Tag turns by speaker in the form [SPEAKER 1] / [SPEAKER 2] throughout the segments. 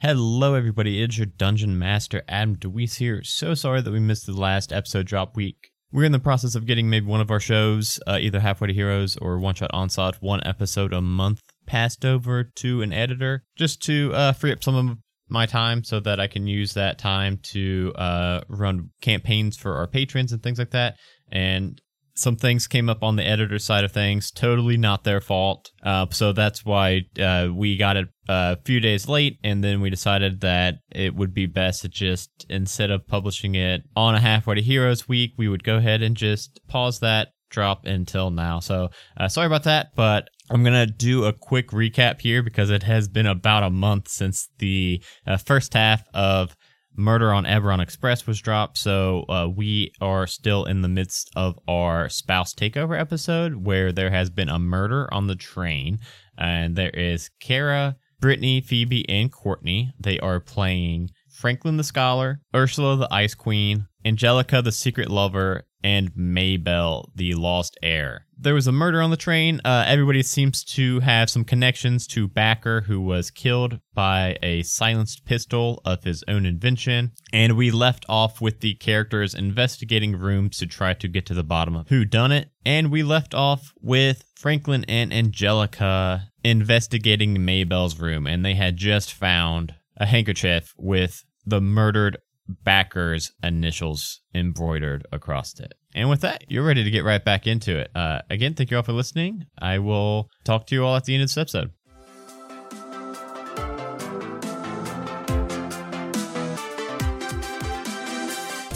[SPEAKER 1] Hello, everybody. It's your Dungeon Master, Adam DeWeese here. So sorry that we missed the last episode drop week. We're in the process of getting maybe one of our shows, uh, either Halfway to Heroes or One Shot Onslaught, one episode a month passed over to an editor just to uh, free up some of my time so that I can use that time to uh, run campaigns for our patrons and things like that. And some things came up on the editor side of things, totally not their fault. Uh, so that's why uh, we got it a few days late, and then we decided that it would be best to just instead of publishing it on a halfway to Heroes week, we would go ahead and just pause that drop until now. So uh, sorry about that, but I'm gonna do a quick recap here because it has been about a month since the uh, first half of Murder on Eberron Express was dropped, so uh, we are still in the midst of our spouse takeover episode where there has been a murder on the train, and there is Kara, Brittany, Phoebe, and Courtney. They are playing Franklin the Scholar, Ursula the Ice Queen, Angelica the Secret Lover, and Maybell the Lost Heir. There was a murder on the train. Uh, everybody seems to have some connections to Backer, who was killed by a silenced pistol of his own invention. And we left off with the characters investigating rooms to try to get to the bottom of who done it. And we left off with Franklin and Angelica investigating Maybell's room, and they had just found a handkerchief with the murdered backer's initials embroidered across it. And with that, you're ready to get right back into it. Uh, again, thank you all for listening. I will talk to you all at the end of this episode.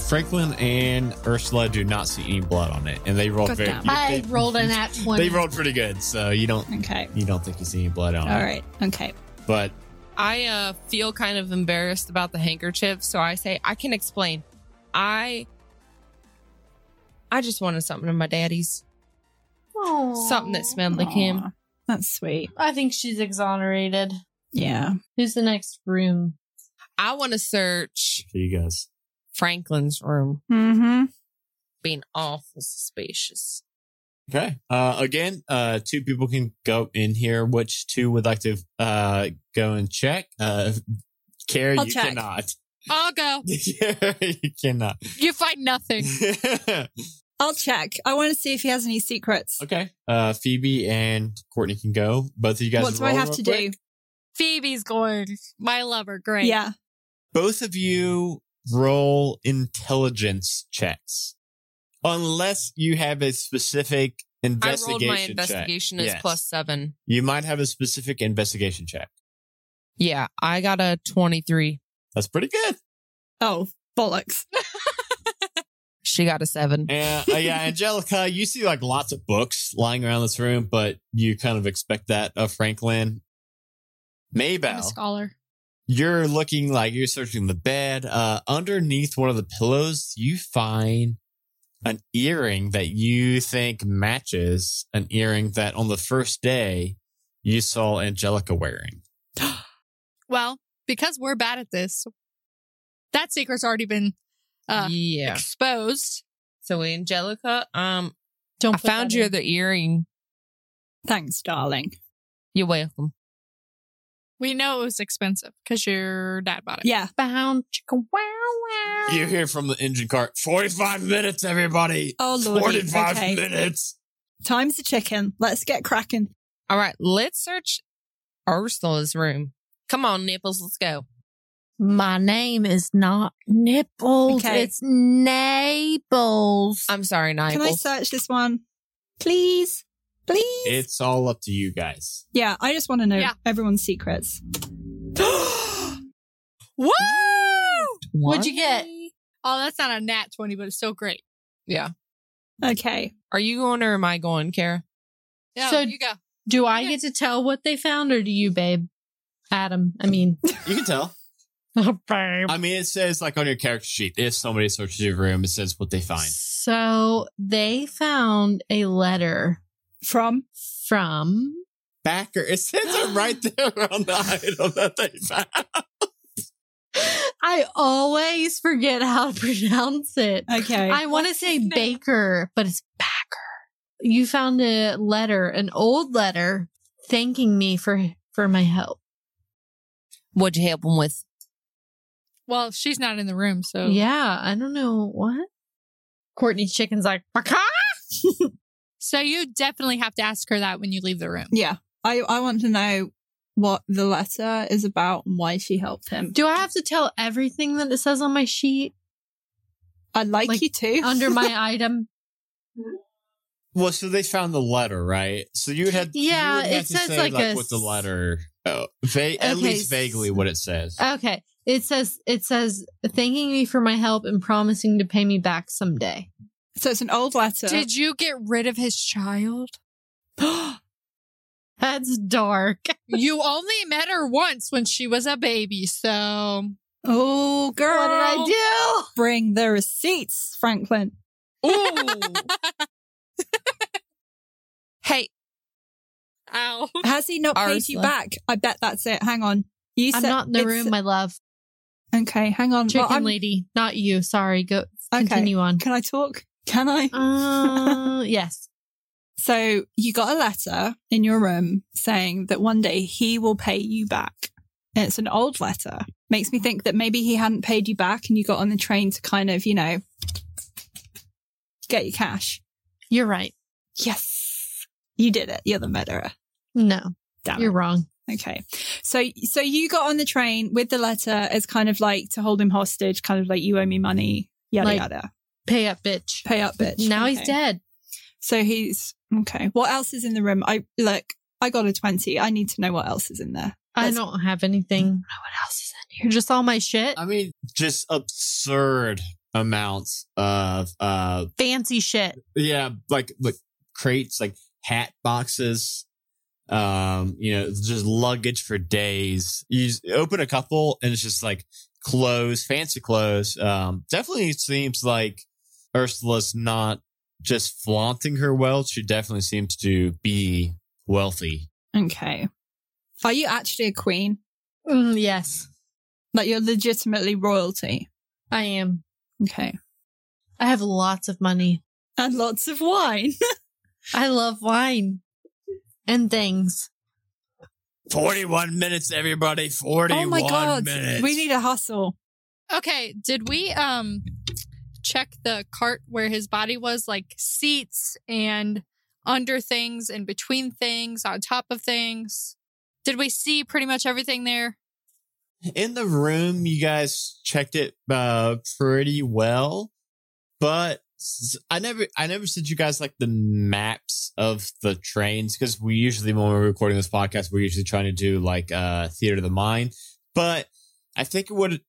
[SPEAKER 1] Franklin and Ursula do not see any blood on it, and they rolled
[SPEAKER 2] Good
[SPEAKER 1] very.
[SPEAKER 2] job.
[SPEAKER 3] I rolled an at one.
[SPEAKER 1] They rolled pretty good, so you don't
[SPEAKER 3] Okay.
[SPEAKER 1] you don't think you see any blood on
[SPEAKER 3] All
[SPEAKER 1] it.
[SPEAKER 3] right. Okay.
[SPEAKER 1] But
[SPEAKER 2] I uh, feel kind of embarrassed about the handkerchief, so I say I can explain. I I just wanted something of my daddy's, something that smelled like him.
[SPEAKER 3] Aw, That's sweet.
[SPEAKER 4] I think she's exonerated.
[SPEAKER 3] Yeah.
[SPEAKER 4] Who's the next room?
[SPEAKER 2] I want to search
[SPEAKER 1] for you guys,
[SPEAKER 2] Franklin's room,
[SPEAKER 3] Mm-hmm.
[SPEAKER 2] being awful suspicious.
[SPEAKER 1] okay. Uh, again, uh, two people can go in here. Which two would like to uh, go and check? Uh, Carrie,
[SPEAKER 3] I'll
[SPEAKER 1] you
[SPEAKER 3] check.
[SPEAKER 1] cannot.
[SPEAKER 2] I'll go.
[SPEAKER 1] Carrie, you cannot.
[SPEAKER 2] You find nothing.
[SPEAKER 3] I'll check. I want to see if he has any secrets.
[SPEAKER 1] okay. Uh, Phoebe and Courtney can go. Both of you guys.
[SPEAKER 3] What do I
[SPEAKER 1] roll
[SPEAKER 3] have
[SPEAKER 1] real
[SPEAKER 3] to
[SPEAKER 1] quick.
[SPEAKER 3] do?
[SPEAKER 5] Phoebe's going, my lover, great.
[SPEAKER 3] Yeah.
[SPEAKER 1] both of you roll intelligence checks unless you have a specific
[SPEAKER 2] I
[SPEAKER 1] investigation
[SPEAKER 2] rolled my
[SPEAKER 1] check.
[SPEAKER 2] investigation as
[SPEAKER 1] Yes.
[SPEAKER 2] plus seven.
[SPEAKER 1] you might have a specific investigation check
[SPEAKER 2] Yeah, I got a twenty-three.
[SPEAKER 1] that's pretty good
[SPEAKER 3] Oh, bollocks.
[SPEAKER 2] She got a seven.
[SPEAKER 1] and uh, yeah angelica you see like lots of books lying around this room but you kind of expect that of franklin
[SPEAKER 5] I'm a
[SPEAKER 1] maybell
[SPEAKER 5] scholar.
[SPEAKER 1] you're looking like you're searching the bed. Uh, underneath one of the pillows, you find an earring that you think matches an earring that on the first day you saw Angelica wearing.
[SPEAKER 5] Well, because we're bad at this, that secret's already been uh,
[SPEAKER 2] yeah.
[SPEAKER 5] exposed.
[SPEAKER 2] So Angelica, um,
[SPEAKER 4] Don't
[SPEAKER 2] I
[SPEAKER 4] put
[SPEAKER 2] found
[SPEAKER 4] that
[SPEAKER 2] you
[SPEAKER 4] in.
[SPEAKER 2] the earring.
[SPEAKER 3] Thanks, darling.
[SPEAKER 2] You're welcome.
[SPEAKER 5] We know it was expensive because your dad bought it.
[SPEAKER 3] Yeah.
[SPEAKER 4] found chicka wow wow.
[SPEAKER 1] You hear from the engine cart 45 minutes, everybody.
[SPEAKER 3] Oh, lordy.
[SPEAKER 1] 45
[SPEAKER 3] Okay.
[SPEAKER 1] minutes.
[SPEAKER 3] Time's a chicken. Let's get cracking.
[SPEAKER 2] All right, let's search Ursula's room. Come on, nipples, let's go.
[SPEAKER 6] My name is not Nipples.
[SPEAKER 3] Okay.
[SPEAKER 6] It's Naples.
[SPEAKER 5] Um,
[SPEAKER 2] I'm sorry,
[SPEAKER 3] Can I
[SPEAKER 2] nipples.
[SPEAKER 3] search this one? Please. Please.
[SPEAKER 1] It's all up to you guys.
[SPEAKER 3] yeah, I just want to know
[SPEAKER 5] Yeah.
[SPEAKER 3] everyone's secrets.
[SPEAKER 2] Woo!
[SPEAKER 4] What'd you get?
[SPEAKER 5] Oh, that's not a nat 20, but it's still great.
[SPEAKER 3] Okay.
[SPEAKER 2] Are you going or am I going, Kara?
[SPEAKER 5] Yeah,
[SPEAKER 4] So-
[SPEAKER 5] you go.
[SPEAKER 4] Do I get to tell what they found, or do you, babe? Adam, I mean,
[SPEAKER 1] You can tell.
[SPEAKER 4] babe.
[SPEAKER 1] I mean, it says like on your character sheet, if somebody searches your room, it says what they find.
[SPEAKER 6] So they found a letter
[SPEAKER 3] From
[SPEAKER 6] from.
[SPEAKER 1] Backer, it says it right there on the item that they found.
[SPEAKER 6] I always forget how to pronounce it.
[SPEAKER 3] Okay.
[SPEAKER 6] I want to
[SPEAKER 5] What's
[SPEAKER 6] say
[SPEAKER 5] his name?
[SPEAKER 6] Baker, but it's Backer. You found a letter, an old letter, thanking me for for my help.
[SPEAKER 2] What'd you help him with?
[SPEAKER 6] Well, she's not in the room, so
[SPEAKER 7] Yeah, I don't know what. Courtney's chicken's like, "Baka!"
[SPEAKER 6] So you definitely have to ask her that when you leave the room.
[SPEAKER 3] Yeah. I, I want to know what the letter is about and why she helped him.
[SPEAKER 7] do I have to tell everything that it says on my sheet
[SPEAKER 3] I'd like,
[SPEAKER 7] Like,
[SPEAKER 3] you to.
[SPEAKER 7] under my item?
[SPEAKER 1] Well, so they found the letter, right? So you would have
[SPEAKER 7] Yeah,
[SPEAKER 1] you would have
[SPEAKER 7] it
[SPEAKER 1] to
[SPEAKER 7] says
[SPEAKER 1] say,
[SPEAKER 7] like
[SPEAKER 1] like,
[SPEAKER 7] a
[SPEAKER 1] what the letter, oh, va-
[SPEAKER 7] Okay,
[SPEAKER 1] at least
[SPEAKER 7] s- uh
[SPEAKER 1] vaguely what it says.
[SPEAKER 7] Okay. It says it says thanking me for my help and promising to pay me back someday.
[SPEAKER 3] so it's an old letter.
[SPEAKER 6] Did you get rid of his child?
[SPEAKER 7] That's dark.
[SPEAKER 6] you only met her once when she was a baby, so
[SPEAKER 3] oh, girl.
[SPEAKER 7] What did I
[SPEAKER 3] Bring the receipts, Franklin.
[SPEAKER 2] Hey,
[SPEAKER 6] ow.
[SPEAKER 3] Has he not paid you
[SPEAKER 2] Ursula.
[SPEAKER 3] back? I bet that's it. Hang on. You
[SPEAKER 7] do? I'm
[SPEAKER 3] said
[SPEAKER 7] not in the
[SPEAKER 3] it's-
[SPEAKER 7] room, my love.
[SPEAKER 3] Okay, hang on. Well,
[SPEAKER 7] Chicken
[SPEAKER 3] I'm-
[SPEAKER 7] lady, not you. Sorry. Go
[SPEAKER 3] Okay.
[SPEAKER 7] continue on.
[SPEAKER 3] Can I talk? Can I?
[SPEAKER 7] Uh, yes.
[SPEAKER 3] So you got a letter in your room saying that one day he will pay you back. And it's an old letter. Makes me think that maybe he hadn't paid you back and you got on the train to kind of, you know, get your cash.
[SPEAKER 7] You're right.
[SPEAKER 3] Yes. You did it. You're the murderer.
[SPEAKER 7] No,
[SPEAKER 3] Damn it.
[SPEAKER 7] you're wrong.
[SPEAKER 3] Okay. So so you got on the train with the letter as kind of like to hold him hostage, kind of like you owe me money, yada
[SPEAKER 7] Like-
[SPEAKER 3] yada.
[SPEAKER 7] Pay up, bitch.
[SPEAKER 3] Pay up, bitch.
[SPEAKER 7] Now he's
[SPEAKER 3] Okay.
[SPEAKER 7] dead.
[SPEAKER 3] So he's okay. What else is in the room? I look. I got a twenty. I need to know what else is in there.
[SPEAKER 7] I
[SPEAKER 3] That's-
[SPEAKER 7] don't have anything. What else is in here? Just all my shit.
[SPEAKER 6] Uh,
[SPEAKER 1] I mean, just absurd amounts of uh
[SPEAKER 7] Fancy shit.
[SPEAKER 1] yeah, like like crates, like hat boxes, um, you know, just luggage for days. You s- open a couple and it's just like clothes, fancy clothes. Um, definitely seems like Ursula's not just flaunting her wealth. She definitely seems to be wealthy.
[SPEAKER 3] Okay. Are you actually a queen?
[SPEAKER 7] Mm, yes,
[SPEAKER 3] Like you're legitimately royalty.
[SPEAKER 7] I am.
[SPEAKER 3] Okay.
[SPEAKER 7] I have lots of money.
[SPEAKER 3] And lots of wine.
[SPEAKER 7] I love wine and things.
[SPEAKER 1] 41 minutes, everybody. 41
[SPEAKER 3] oh my god.
[SPEAKER 1] minutes.
[SPEAKER 3] We need a hustle.
[SPEAKER 6] Okay, did we um check the cart where his body was like seats and under things and between things, on top of things? Did we see pretty much everything there?
[SPEAKER 1] in the room you guys checked it uh pretty well but s- i never i never sent you guys like the maps of the trains because we usually when we're recording this podcast we're usually trying to do like uh theater of the mind but i think it would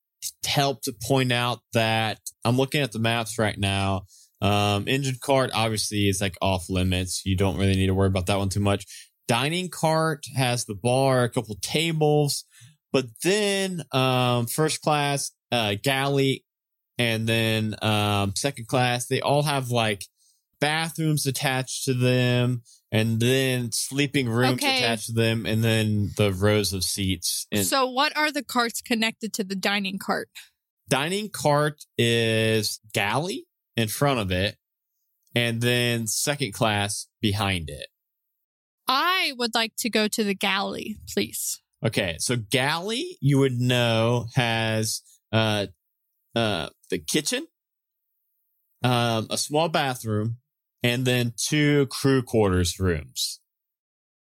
[SPEAKER 1] help to point out that i'm looking at the maps right now um engine cart obviously is like off limits you don't really need to worry about that one too much dining cart has the bar a couple tables but then um first class uh galley and then um second class they all have like bathrooms attached to them and then sleeping rooms
[SPEAKER 6] Okay.
[SPEAKER 1] attached to them and then the rows of seats and
[SPEAKER 6] so what are the carts connected to the dining cart?
[SPEAKER 1] dining cart is galley in front of it and then second class behind it
[SPEAKER 6] I would like to go to the galley, please.
[SPEAKER 1] Okay, so galley you would know has uh uh the kitchen, um a small bathroom, and then two crew quarters rooms.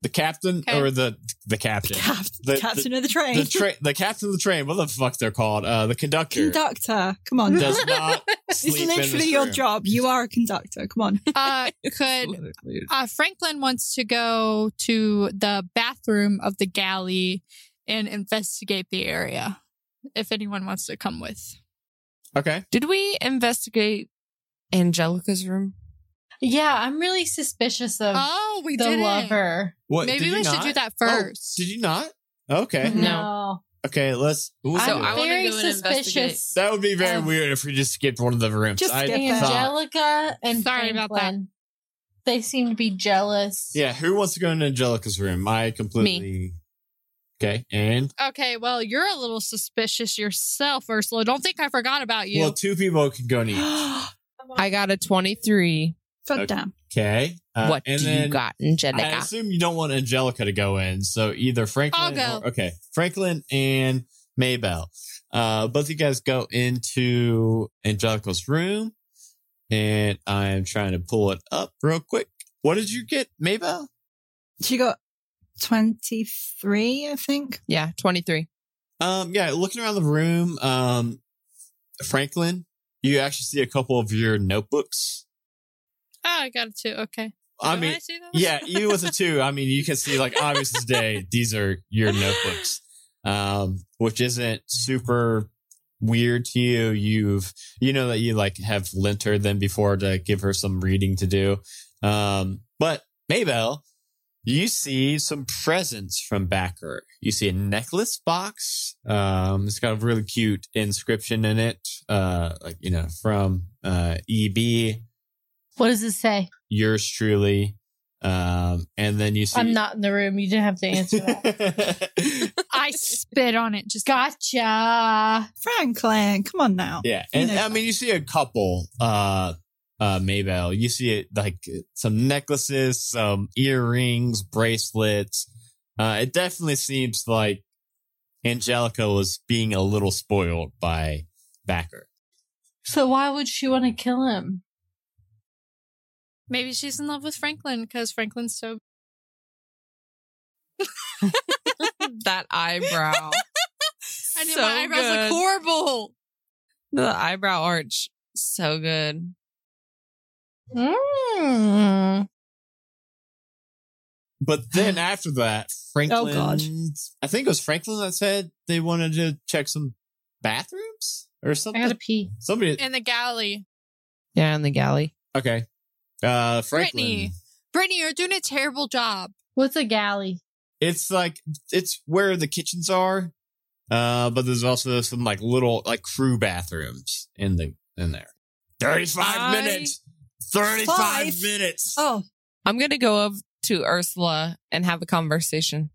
[SPEAKER 1] The captain
[SPEAKER 6] Okay.
[SPEAKER 1] or the the captain.
[SPEAKER 3] Cap-
[SPEAKER 1] The-
[SPEAKER 3] captain of the
[SPEAKER 1] The,
[SPEAKER 3] train.
[SPEAKER 1] the train the captain of the train, what the fuck they're called? Uh the conductor
[SPEAKER 3] conductor. Come on.
[SPEAKER 1] does not
[SPEAKER 3] It's
[SPEAKER 1] sleep in this
[SPEAKER 3] literally your
[SPEAKER 1] room.
[SPEAKER 3] job. You are a conductor. Come on.
[SPEAKER 6] Uh could uh, Franklin wants to go to the bathroom of the galley and investigate the area if anyone wants to come with.
[SPEAKER 1] Okay.
[SPEAKER 2] did we investigate Angelica's room?
[SPEAKER 7] Yeah, I'm really suspicious of
[SPEAKER 6] Oh, we
[SPEAKER 7] the
[SPEAKER 6] didn't.
[SPEAKER 7] lover.
[SPEAKER 1] What
[SPEAKER 6] Maybe
[SPEAKER 1] did
[SPEAKER 6] we
[SPEAKER 1] you
[SPEAKER 6] should
[SPEAKER 1] not?
[SPEAKER 6] do that
[SPEAKER 1] Oh,
[SPEAKER 6] first.
[SPEAKER 1] did you not? Okay.
[SPEAKER 2] No.
[SPEAKER 1] Okay, let's we'll
[SPEAKER 2] So
[SPEAKER 1] do it.
[SPEAKER 2] I
[SPEAKER 7] I'm
[SPEAKER 2] wanna
[SPEAKER 7] very
[SPEAKER 2] go and investigate.
[SPEAKER 7] suspicious.
[SPEAKER 1] That would be very
[SPEAKER 7] Um,
[SPEAKER 1] weird if we just skipped one of the rooms.
[SPEAKER 3] just
[SPEAKER 1] I
[SPEAKER 3] skip it.
[SPEAKER 1] thought,
[SPEAKER 7] Angelica and
[SPEAKER 6] Sorry about that.
[SPEAKER 7] Franklin, They seem to be jealous.
[SPEAKER 1] yeah, who wants to go into Angelica's room? I completely. Okay, and
[SPEAKER 6] Okay, well, you're a little suspicious yourself, Ursula. Don't think I forgot about you.
[SPEAKER 1] well, two people can go in each.
[SPEAKER 2] I got a 23.
[SPEAKER 3] God
[SPEAKER 1] Okay.
[SPEAKER 3] damn.
[SPEAKER 1] Okay. Uh,
[SPEAKER 2] what
[SPEAKER 1] and
[SPEAKER 2] do you
[SPEAKER 1] then
[SPEAKER 2] got,
[SPEAKER 1] I
[SPEAKER 2] Angelica?
[SPEAKER 1] assume you don't want Angelica to go in. So either Franklin
[SPEAKER 6] I'll go.
[SPEAKER 1] or- okay. Franklin and Maybell. Uh both of you guys go into Angelica's room. And I am trying to pull it up real quick. What did you get, Maybell?
[SPEAKER 3] She got 23, I think.
[SPEAKER 2] Yeah, 23.
[SPEAKER 1] Um, yeah, looking around the room, um, Franklin, you actually see a couple of your notebooks.
[SPEAKER 6] Oh, I got it too. Okay.
[SPEAKER 1] I
[SPEAKER 6] Did
[SPEAKER 1] mean,
[SPEAKER 6] I see those?
[SPEAKER 1] yeah, even with the two, I mean, you can see like obvious as day, these are your notebooks, um, which isn't super weird to you. You've, you know, that you like have lent her them before to give her some reading to do. Um, but Maybell, you see some presents from Backer. You see a necklace box. Um, it's got a really cute inscription in it, uh, like, you know, from, uh, EB,
[SPEAKER 7] What does it say?
[SPEAKER 1] yours truly. Um, and then you see,
[SPEAKER 7] I'm not in the room. You didn't have to answer that.
[SPEAKER 6] I spit on it. Just
[SPEAKER 7] gotcha.
[SPEAKER 3] Franklin, come on now.
[SPEAKER 1] yeah. And
[SPEAKER 3] You know.
[SPEAKER 1] I mean, you see a couple, uh, uh, Maybell, you see it like some necklaces, some earrings, bracelets. Uh, it definitely seems like Angelica was being a little spoiled by Backer.
[SPEAKER 7] So why would she want to kill him?
[SPEAKER 6] maybe she's in love with Franklin because Franklin's so.
[SPEAKER 2] that eyebrow.
[SPEAKER 6] I knew
[SPEAKER 2] So
[SPEAKER 6] my eyebrows
[SPEAKER 2] good.
[SPEAKER 6] look horrible.
[SPEAKER 2] the eyebrow arch. So good.
[SPEAKER 7] Mm.
[SPEAKER 1] But then after that, Franklin,
[SPEAKER 3] Oh, God.
[SPEAKER 1] I think it was Franklin that said they wanted to check some bathrooms or
[SPEAKER 7] I
[SPEAKER 1] something.
[SPEAKER 7] gotta pee.
[SPEAKER 1] Somebody,
[SPEAKER 6] In the galley,
[SPEAKER 2] Yeah, in the galley.
[SPEAKER 1] okay. Uh, Franklin.
[SPEAKER 6] Brittany. Brittany, you're doing a terrible job.
[SPEAKER 7] What's a galley?
[SPEAKER 1] it's like it's where the kitchens are uh but there's also some like little like crew bathrooms in the in there 35
[SPEAKER 2] I-
[SPEAKER 1] minutes 35
[SPEAKER 3] Five?
[SPEAKER 1] minutes
[SPEAKER 3] Oh,
[SPEAKER 2] I'm going to go up to Ursula and have a conversation.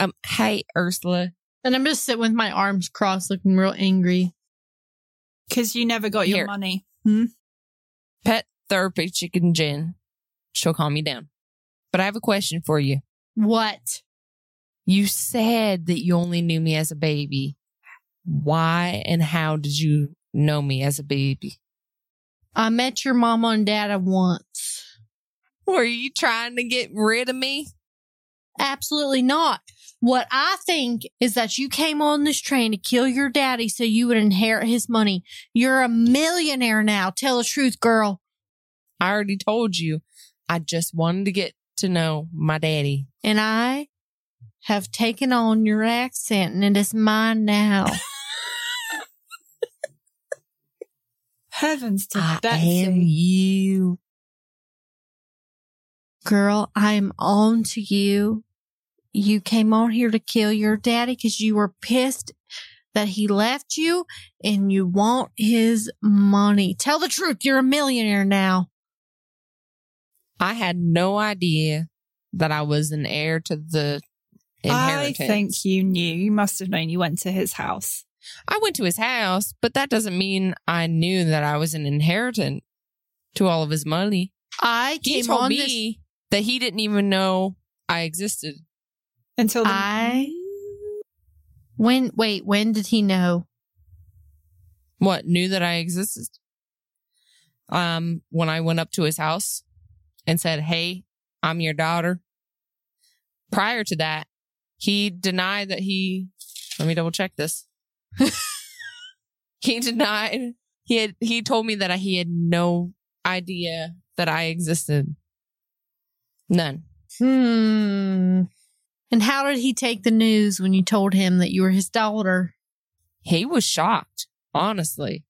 [SPEAKER 2] Um, hey, Ursula.
[SPEAKER 7] And I'm just sitting with my arms crossed, looking real angry.
[SPEAKER 3] because you never got your
[SPEAKER 2] Here.
[SPEAKER 3] money.
[SPEAKER 2] Pet therapy chicken gin. She'll calm me down. But I have a question for you.
[SPEAKER 7] What?
[SPEAKER 2] You said that you only knew me as a baby. Why and how did you know me as a baby?
[SPEAKER 7] I met your mama and dada once.
[SPEAKER 2] Were you trying to get rid of me?
[SPEAKER 7] Absolutely not. What I think is that you came on this train to kill your daddy so you would inherit his money. You're a millionaire now. Tell the truth, girl.
[SPEAKER 2] I already told you. I just wanted to get to know my daddy.
[SPEAKER 7] And I have taken on your accent and it is mine now.
[SPEAKER 3] Heavens to
[SPEAKER 7] Ah,
[SPEAKER 2] I am
[SPEAKER 3] Betsy.
[SPEAKER 2] you.
[SPEAKER 7] girl, I am on to you. You came on here to kill your daddy because you were pissed that he left you and you want his money. Tell the truth. You're a millionaire now.
[SPEAKER 2] I had no idea that I was an heir to the
[SPEAKER 3] I
[SPEAKER 2] inheritance. I,
[SPEAKER 3] think you knew. You must have known you went to his house.
[SPEAKER 2] went to his house, but that doesn't mean I knew that I was an inheritant to all of his money.
[SPEAKER 7] I
[SPEAKER 2] He
[SPEAKER 7] came
[SPEAKER 2] told
[SPEAKER 7] on this
[SPEAKER 2] me that he didn't even know I existed.
[SPEAKER 3] Until the-
[SPEAKER 7] I when wait when did he know?
[SPEAKER 2] What knew that I existed? Um, when I went up to his house and said, "Hey, I'm your daughter." Prior to that, he denied that he. Let me double check this. he denied he had. He told me that he had no idea that I existed. None.
[SPEAKER 7] Hmm. And how did he take the news when you told him that you were his daughter?
[SPEAKER 2] he was shocked, honestly.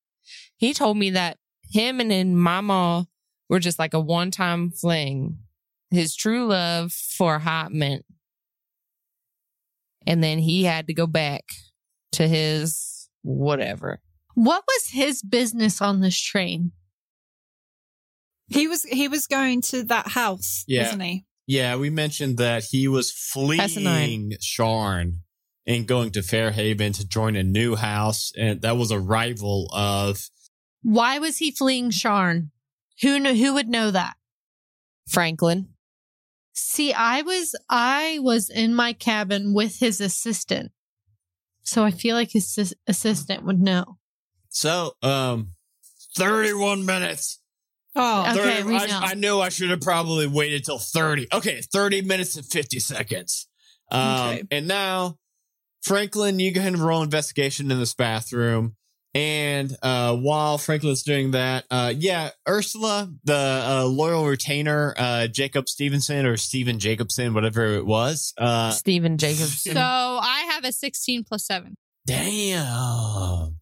[SPEAKER 2] He told me that him and then mama were just like a one time fling, his true love for a hot mint. And then he had to go back to his whatever.
[SPEAKER 7] What was his business on this train?
[SPEAKER 3] he was he was going to that house,
[SPEAKER 1] Yeah.
[SPEAKER 3] wasn't he?
[SPEAKER 1] yeah we mentioned that he was fleeing
[SPEAKER 2] Asinine.
[SPEAKER 1] sharn and going to fairhaven to join a new house and that was a rival of
[SPEAKER 7] Why was he fleeing Sharn? Who kn- who would know that?
[SPEAKER 2] Franklin.
[SPEAKER 7] See, I was I was in my cabin with his assistant. So I feel like his sis- assistant would know.
[SPEAKER 1] So, um, 31 minutes.
[SPEAKER 3] Oh,
[SPEAKER 7] Okay, we know.
[SPEAKER 1] I, I knew I should have probably waited till 30. Okay, 30 minutes and 50 seconds. Um,
[SPEAKER 3] Okay.
[SPEAKER 1] And now, Franklin, you go ahead and roll investigation in this bathroom. And uh, while Franklin's doing that, uh, yeah, Ursula, the uh, loyal retainer, uh, Jacob Stevenson or Steven Jacobson, whatever it was. Uh,
[SPEAKER 2] Stephen Jacobs.
[SPEAKER 6] So I have a 16 plus 7.
[SPEAKER 1] Damn.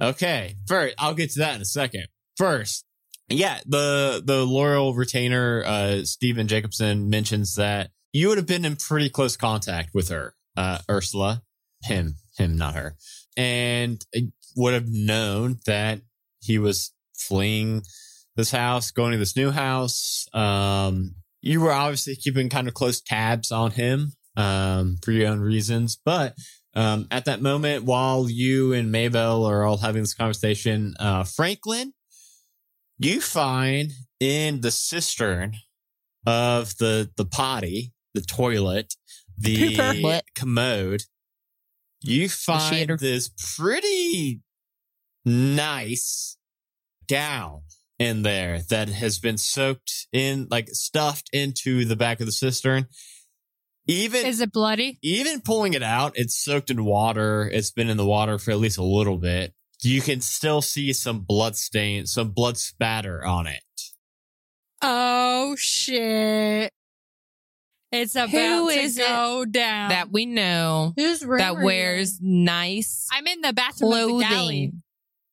[SPEAKER 1] Okay. First, I'll get to that in a second. First, yeah, the the Laurel retainer, uh, Steven Jacobson mentions that you would have been in pretty close contact with her, uh, Ursula, him, him, not her, and uh, would have known that he was fleeing this house, going to this new house. Um, you were obviously keeping kind of close tabs on him, um, for your own reasons, but um, at that moment, while you and Maybell are all having this conversation, uh, Franklin, you find in the cistern of the the potty, the toilet, the
[SPEAKER 2] Pooper. What?
[SPEAKER 1] commode, you find
[SPEAKER 2] shader.
[SPEAKER 1] this pretty nice gown in there that has been soaked in, like stuffed into the back of the cistern. Even
[SPEAKER 6] Is it bloody?
[SPEAKER 1] even pulling it out, it's soaked in water. It's been in the water for at least a little bit. You can still see some blood stain, some blood spatter on it.
[SPEAKER 6] Oh, shit. It's about
[SPEAKER 2] Who
[SPEAKER 6] to
[SPEAKER 2] is it
[SPEAKER 6] go down.
[SPEAKER 2] That we know
[SPEAKER 7] Who's
[SPEAKER 2] that wears nice
[SPEAKER 6] I'm in the bathroom of the galley.
[SPEAKER 2] clothing.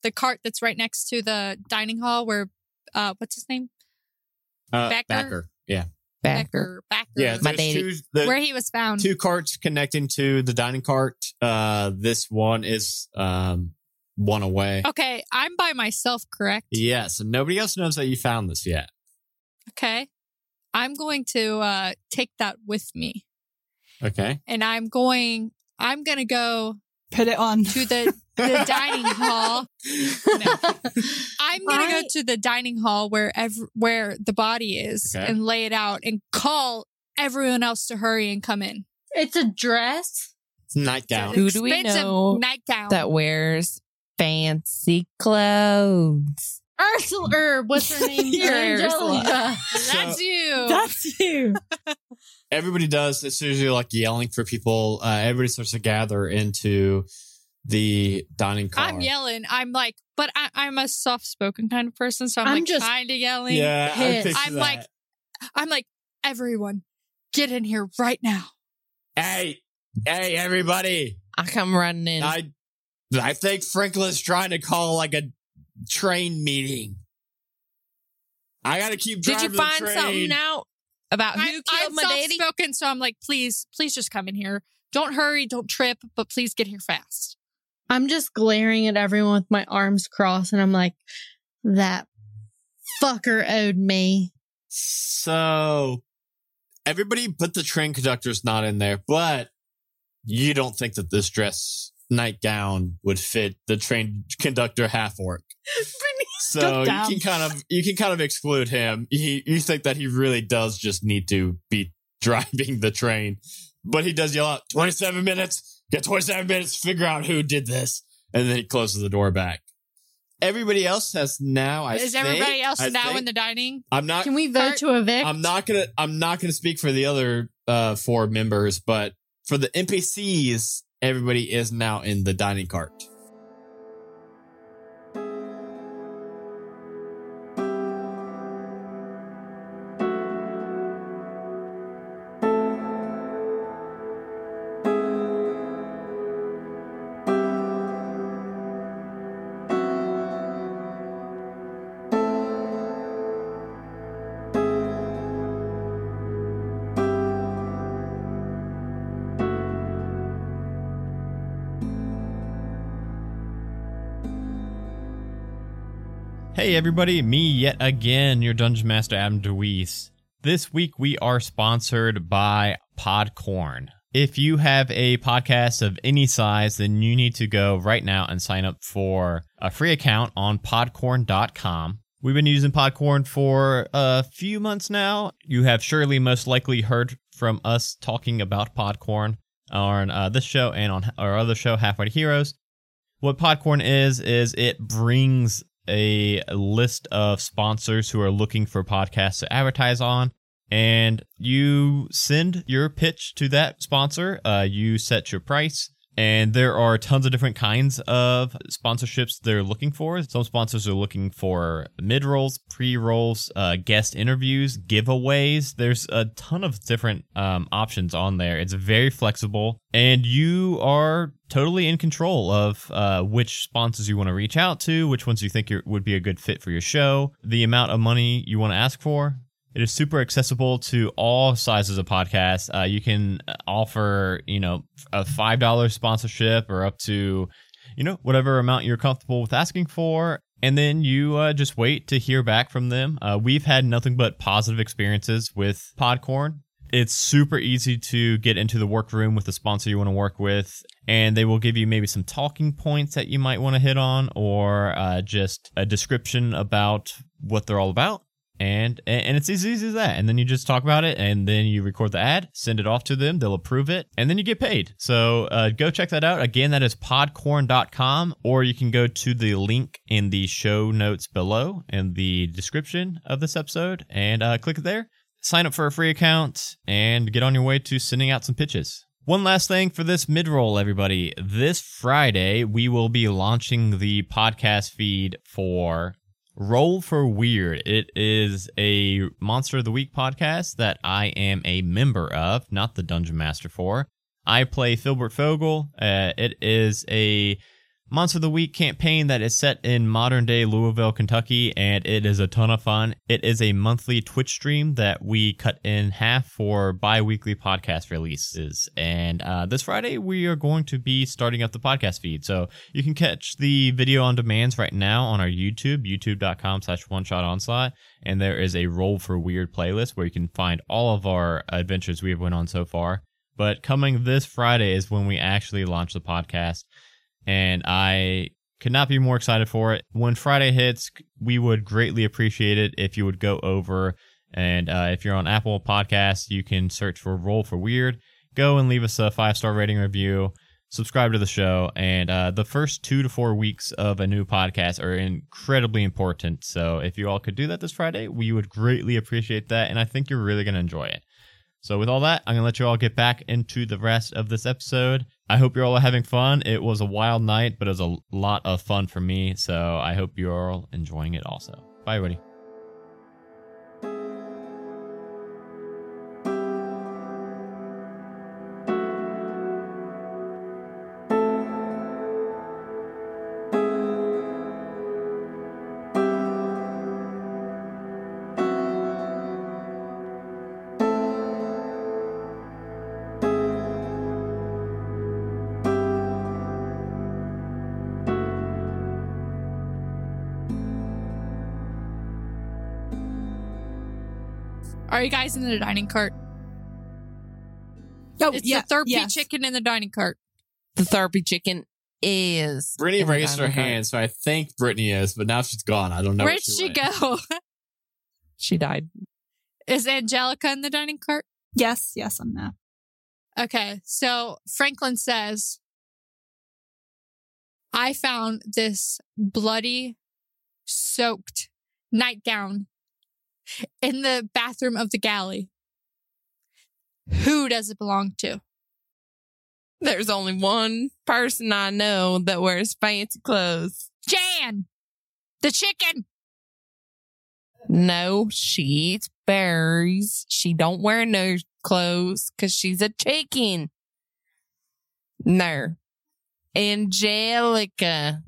[SPEAKER 6] The cart that's right next to the dining hall where, uh, what's his name?
[SPEAKER 1] Uh,
[SPEAKER 6] Backer?
[SPEAKER 1] Yeah.
[SPEAKER 2] Backer.
[SPEAKER 6] Backer.
[SPEAKER 1] Yeah.
[SPEAKER 2] My
[SPEAKER 1] there's
[SPEAKER 2] daddy.
[SPEAKER 1] two, the,
[SPEAKER 6] where he was found.
[SPEAKER 1] two carts connecting to the dining cart. Uh, this one is um, one away.
[SPEAKER 6] Okay, I'm by myself, correct?
[SPEAKER 1] Yeah. So nobody else knows that you found this yet.
[SPEAKER 6] Okay. I'm going to uh take that with me.
[SPEAKER 1] Okay.
[SPEAKER 6] And I'm going I'm going to go
[SPEAKER 3] put it on.
[SPEAKER 6] to the the dining hall. No. I'm going to go
[SPEAKER 7] I-
[SPEAKER 6] to the dining hall where ev- where the body is
[SPEAKER 1] Okay.
[SPEAKER 6] and lay it out and call everyone else to hurry and come in.
[SPEAKER 7] It's a dress.
[SPEAKER 1] It's a nightgown.
[SPEAKER 2] Who do we
[SPEAKER 6] Expensive
[SPEAKER 2] know
[SPEAKER 6] nightgown.
[SPEAKER 2] that wears fancy clothes.
[SPEAKER 7] Ursula, or what's her name?
[SPEAKER 2] You're Ursula.
[SPEAKER 7] Angelica.
[SPEAKER 6] That's you.
[SPEAKER 8] That's you.
[SPEAKER 1] everybody does. It's usually like yelling for people. Uh, everybody starts to gather into the dining car.
[SPEAKER 6] I'm yelling. I'm like, but I, I'm a soft spoken kind of person, so I'm,
[SPEAKER 7] I'm
[SPEAKER 6] like
[SPEAKER 7] just
[SPEAKER 6] kind of yelling.
[SPEAKER 1] Yeah, I
[SPEAKER 7] pissed.
[SPEAKER 1] picture
[SPEAKER 6] I'm like,
[SPEAKER 1] that.
[SPEAKER 6] I'm like, everyone, get in here right now.
[SPEAKER 1] Hey, hey, everybody!
[SPEAKER 2] I come running in.
[SPEAKER 1] I, I think Franklin's trying to call like a train meeting. I gotta keep
[SPEAKER 2] Did
[SPEAKER 1] driving
[SPEAKER 2] you find
[SPEAKER 1] the train.
[SPEAKER 2] something out about who
[SPEAKER 6] I,
[SPEAKER 2] killed
[SPEAKER 6] I'm
[SPEAKER 2] my daddy?
[SPEAKER 6] soft-spoken, so I'm like, please, please just come in here. Don't hurry, don't trip, but please get here fast.
[SPEAKER 7] I'm just glaring at everyone with my arms crossed, and I'm like, that fucker owed me.
[SPEAKER 1] So, everybody, but the train conductor's not in there. But you don't think that this dress nightgown would fit the train conductor half orc. So you
[SPEAKER 3] down.
[SPEAKER 1] can kind of you can kind of exclude him. He, you think that he really does just need to be driving the train, but he does yell out twenty seven minutes. Get twenty seven minutes. Figure out who did this, and then he closes the door back. Everybody else has now. I
[SPEAKER 6] Is
[SPEAKER 1] think-
[SPEAKER 6] everybody else
[SPEAKER 1] I
[SPEAKER 6] now
[SPEAKER 1] think-
[SPEAKER 6] in the dining?
[SPEAKER 1] I'm not.
[SPEAKER 7] Can we vote to evict?
[SPEAKER 1] I'm not gonna I'm not gonna speak for the other uh four members, but for the NPCs, everybody is now in the dining cart.
[SPEAKER 9] Hey everybody, me yet again, your Dungeon Master Adam DeWeese. This week we are sponsored by Podcorn. If you have a podcast of any size, then you need to go right now and sign up for a free account on podcorn.com.
[SPEAKER 1] We've been using Podcorn for a few months now. You have surely most likely heard from us talking about Podcorn on uh, this show and on our other show, Halfway to Heroes. What Podcorn is, is it brings a list of sponsors who are looking for podcasts to advertise on. And you send your pitch to that sponsor. Uh, you set your price. And there are tons of different kinds of sponsorships they're looking for. Some sponsors are looking for mid rolls, pre rolls, uh, guest interviews, giveaways. There's a ton of different um, options on there. It's very flexible, and you are totally in control of uh, which sponsors you want to reach out to, which ones you think you're, would be a good fit for your show, the amount of money you want to ask for. It is super accessible to all sizes of podcasts. Uh, you can offer, you know, a five dollar sponsorship or up to, you know, whatever amount you're comfortable with asking for, and then you uh, just wait to hear back from them. Uh, we've had nothing but positive experiences with Podcorn. It's super easy to get into the workroom with the sponsor you want to work with, and they will give you maybe some talking points that you might want to hit on, or uh, just a description about what they're all about and and it's as easy as that and then you just talk about it and then you record the ad send it off to them they'll approve it and then you get paid so uh, go check that out again that is podcorn.com or you can go to the link in the show notes below in the description of this episode and uh, click it there sign up for a free account and get on your way to sending out some pitches one last thing for this mid roll, everybody. This Friday, we will be launching the podcast feed for Roll for Weird. It is a Monster of the Week podcast that I am a member of, not the Dungeon Master for. I play Filbert Fogel. Uh, it is a Monster of the Week campaign that is set in modern day Louisville, Kentucky, and it is a ton of fun. It is a monthly Twitch stream that we cut in half for bi weekly podcast releases. And uh, this Friday, we are going to be starting up the podcast feed. So you can catch the video on demands right now on our YouTube, youtube.com slash one shot onslaught. And there is a Roll for Weird playlist where you can find all of our adventures we have went on so far. But coming this Friday is when we actually launch the podcast and I could not be more excited for it. When Friday hits, we would greatly appreciate it if you would go over and uh, if you're on Apple Podcasts, you can search for Roll for Weird. Go and leave us a five star rating review. Subscribe to the show, and uh, the first two to four weeks of a new podcast are incredibly important. So if you all could do that this Friday, we would greatly appreciate that, and I think you're really going to enjoy it. So, with all that, I'm going to let you all get back into the rest of this episode. I hope you're all having fun. It was a wild night, but it was a lot of fun for me. So, I hope you're all enjoying it also. Bye, everybody.
[SPEAKER 6] Are you guys in the dining cart?
[SPEAKER 3] Oh,
[SPEAKER 6] It's
[SPEAKER 3] yeah,
[SPEAKER 6] the therapy
[SPEAKER 3] yes.
[SPEAKER 6] chicken in the dining cart.
[SPEAKER 2] The therapy chicken is.
[SPEAKER 10] Brittany
[SPEAKER 2] in the
[SPEAKER 10] raised her
[SPEAKER 2] dining cart.
[SPEAKER 10] hand, so I think Brittany is, but now she's gone. I don't know. where
[SPEAKER 6] Where'd she
[SPEAKER 10] went.
[SPEAKER 6] go?
[SPEAKER 2] She died.
[SPEAKER 6] Is Angelica in the dining cart?
[SPEAKER 3] Yes, yes, I'm there.
[SPEAKER 6] Okay, so Franklin says, I found this bloody, soaked nightgown in the bathroom of the galley. Who does it belong to?
[SPEAKER 2] There's only one person I know that wears fancy clothes.
[SPEAKER 6] Jan, the chicken.
[SPEAKER 2] No, she eats berries. She don't wear no clothes because she's a chicken. No. Angelica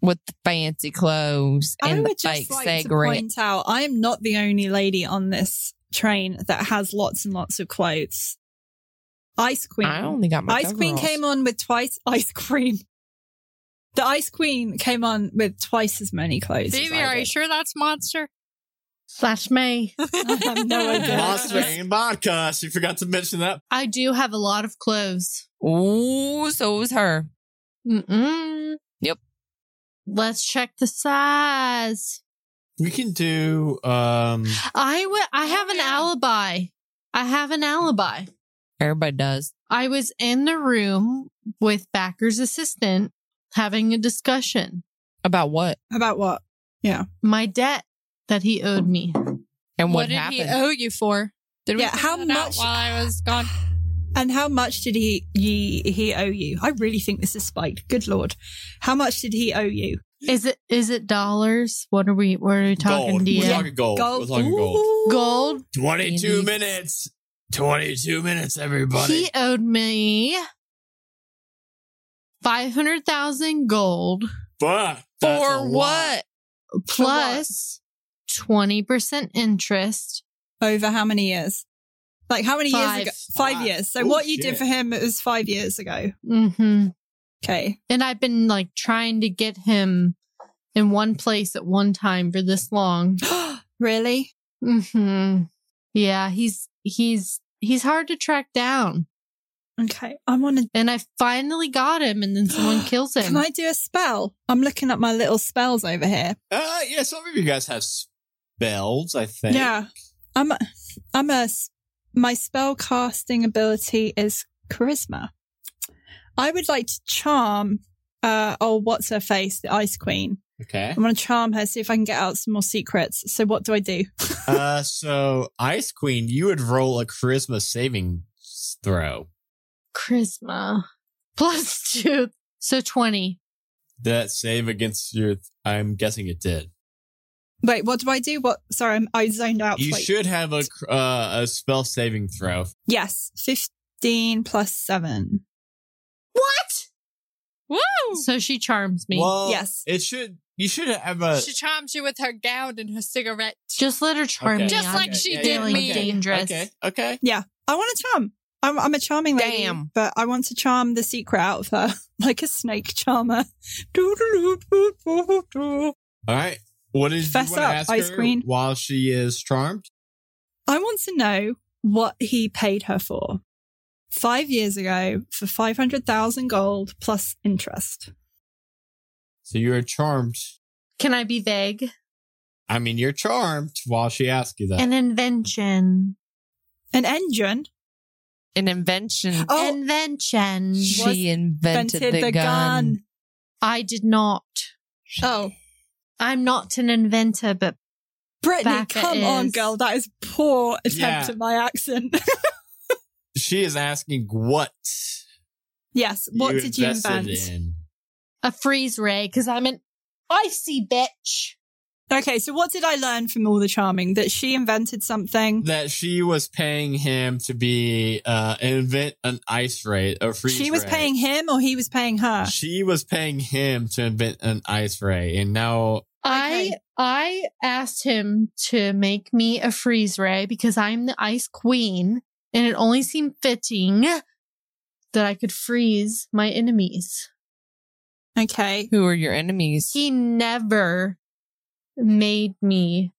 [SPEAKER 2] with the fancy clothes
[SPEAKER 3] I
[SPEAKER 2] and the
[SPEAKER 3] would
[SPEAKER 2] fake
[SPEAKER 3] just like to
[SPEAKER 2] cigarette.
[SPEAKER 3] point out I am not the only lady on this train that has lots and lots of clothes. Ice Queen.
[SPEAKER 2] I only got my
[SPEAKER 3] Ice Queen
[SPEAKER 2] overalls.
[SPEAKER 3] came on with twice ice cream. The Ice Queen came on with twice as many clothes. as
[SPEAKER 6] Phoebe,
[SPEAKER 3] I
[SPEAKER 6] are you
[SPEAKER 3] did.
[SPEAKER 6] sure that's monster?
[SPEAKER 7] Slash me.
[SPEAKER 3] I have no idea.
[SPEAKER 10] Monster and vodka. She forgot to mention that.
[SPEAKER 7] I do have a lot of clothes.
[SPEAKER 2] Ooh, so was her.
[SPEAKER 7] Mm-mm. Let's check the size.
[SPEAKER 1] We can do um
[SPEAKER 7] I w- I have an alibi. I have an alibi.
[SPEAKER 2] Everybody does.
[SPEAKER 7] I was in the room with Backer's assistant having a discussion.
[SPEAKER 2] About what?
[SPEAKER 3] About what?
[SPEAKER 7] My debt that he owed me.
[SPEAKER 2] And what,
[SPEAKER 6] what did
[SPEAKER 2] happened?
[SPEAKER 6] he owe you for? Did
[SPEAKER 3] Yeah,
[SPEAKER 6] we
[SPEAKER 3] how
[SPEAKER 6] find that out
[SPEAKER 3] much-
[SPEAKER 6] while I was gone?
[SPEAKER 3] And how much did he ye, he owe you? I really think this is spiked. Good lord, how much did he owe you?
[SPEAKER 7] Is it is it dollars? What are we what are we talking
[SPEAKER 1] gold. We're
[SPEAKER 7] DM?
[SPEAKER 1] talking gold. We're talking gold.
[SPEAKER 3] Ooh.
[SPEAKER 7] Gold.
[SPEAKER 1] Twenty two
[SPEAKER 2] Maybe.
[SPEAKER 1] minutes. Twenty two minutes, everybody.
[SPEAKER 7] He owed me 500,000 gold
[SPEAKER 1] Fuck. that's a
[SPEAKER 2] For
[SPEAKER 1] lot.
[SPEAKER 2] what?
[SPEAKER 7] plus 20% interest.
[SPEAKER 3] Over how many years? Like how many
[SPEAKER 7] Five.
[SPEAKER 3] years ago? Five,
[SPEAKER 1] Five.
[SPEAKER 3] years. So
[SPEAKER 1] Oh,
[SPEAKER 3] what you
[SPEAKER 1] shit.
[SPEAKER 3] did for him it was five years ago.
[SPEAKER 7] hmm
[SPEAKER 3] Okay.
[SPEAKER 7] And I've been like trying to get him in one place at one time for this long.
[SPEAKER 3] really?
[SPEAKER 7] hmm Yeah, he's he's he's hard to track down.
[SPEAKER 3] Okay. I want to.
[SPEAKER 7] And I finally got him and then someone kills him.
[SPEAKER 3] Can I do a spell? I'm looking at my little spells over here.
[SPEAKER 1] Uh yeah, some of you guys have spells, I think.
[SPEAKER 3] Yeah. I'm. A, I'm a. s- My spell casting ability is charisma. I would like to charm. Uh, oh, what's her face? The Ice Queen.
[SPEAKER 1] Okay.
[SPEAKER 3] I want to charm her, see if I can get out some more secrets. So, what do I do?
[SPEAKER 1] Uh so Ice Queen, you would roll a charisma saving throw.
[SPEAKER 7] Charisma plus 2 so 20.
[SPEAKER 1] That save against your I'm guessing it did.
[SPEAKER 3] Wait, what do I do? What? Sorry, I'm, I zoned out.
[SPEAKER 1] You
[SPEAKER 3] Wait.
[SPEAKER 1] should have a cr- uh, a spell saving throw.
[SPEAKER 3] Yes, 15 plus 7.
[SPEAKER 6] Woo!
[SPEAKER 7] So she charms me.
[SPEAKER 1] Well,
[SPEAKER 3] Yes.
[SPEAKER 1] It should. You should have a.
[SPEAKER 6] she charms you with her gown and her cigarette.
[SPEAKER 7] Just let her charm
[SPEAKER 1] Okay.
[SPEAKER 7] me.
[SPEAKER 6] Just
[SPEAKER 7] I'm
[SPEAKER 6] like she did
[SPEAKER 7] feeling
[SPEAKER 6] me.
[SPEAKER 7] dangerous.
[SPEAKER 1] Okay. Okay.
[SPEAKER 3] I want to charm. I'm, I'm a charming lady,
[SPEAKER 2] Damn.
[SPEAKER 3] but I want to charm the secret out of her like a snake charmer. Doo-doo-doo-doo-doo-doo.
[SPEAKER 1] All right. What is
[SPEAKER 3] Fess
[SPEAKER 1] you want
[SPEAKER 3] up,
[SPEAKER 1] to ask
[SPEAKER 3] Ice
[SPEAKER 1] her
[SPEAKER 3] Queen.
[SPEAKER 1] while she is charmed?
[SPEAKER 3] I want to know what he paid her for five years ago for 500,000 gold plus interest.
[SPEAKER 1] So you are charmed.
[SPEAKER 7] Can I be vague?
[SPEAKER 1] I mean, you're charmed while she asks you that.
[SPEAKER 7] An invention.
[SPEAKER 3] An engine.
[SPEAKER 2] An invention.
[SPEAKER 3] Oh,
[SPEAKER 7] Invention.
[SPEAKER 2] she invented,
[SPEAKER 3] invented
[SPEAKER 2] the, gun.
[SPEAKER 7] I did not.
[SPEAKER 3] Oh,
[SPEAKER 7] I'm not an inventor, but
[SPEAKER 3] Brittany,
[SPEAKER 7] Backer
[SPEAKER 3] come on,
[SPEAKER 7] is-
[SPEAKER 3] girl. That is poor attempt
[SPEAKER 1] Yeah.
[SPEAKER 3] at my accent.
[SPEAKER 1] she is asking what.
[SPEAKER 3] yes. What did you
[SPEAKER 1] invested
[SPEAKER 3] invent?
[SPEAKER 1] In.
[SPEAKER 7] a freeze ray because I'm an icy bitch.
[SPEAKER 3] Okay, so what did I learn from all the charming? That she invented something.
[SPEAKER 1] That she was paying him to be uh invent an ice ray, a freeze.
[SPEAKER 3] She was
[SPEAKER 1] ray.
[SPEAKER 3] paying him or he was paying her?
[SPEAKER 1] She was paying him to invent an ice ray, and now
[SPEAKER 7] I I asked him to make me a freeze ray because I'm the ice queen, and it only seemed fitting that I could freeze my enemies.
[SPEAKER 3] Okay.
[SPEAKER 2] Who are your enemies?
[SPEAKER 7] He never made me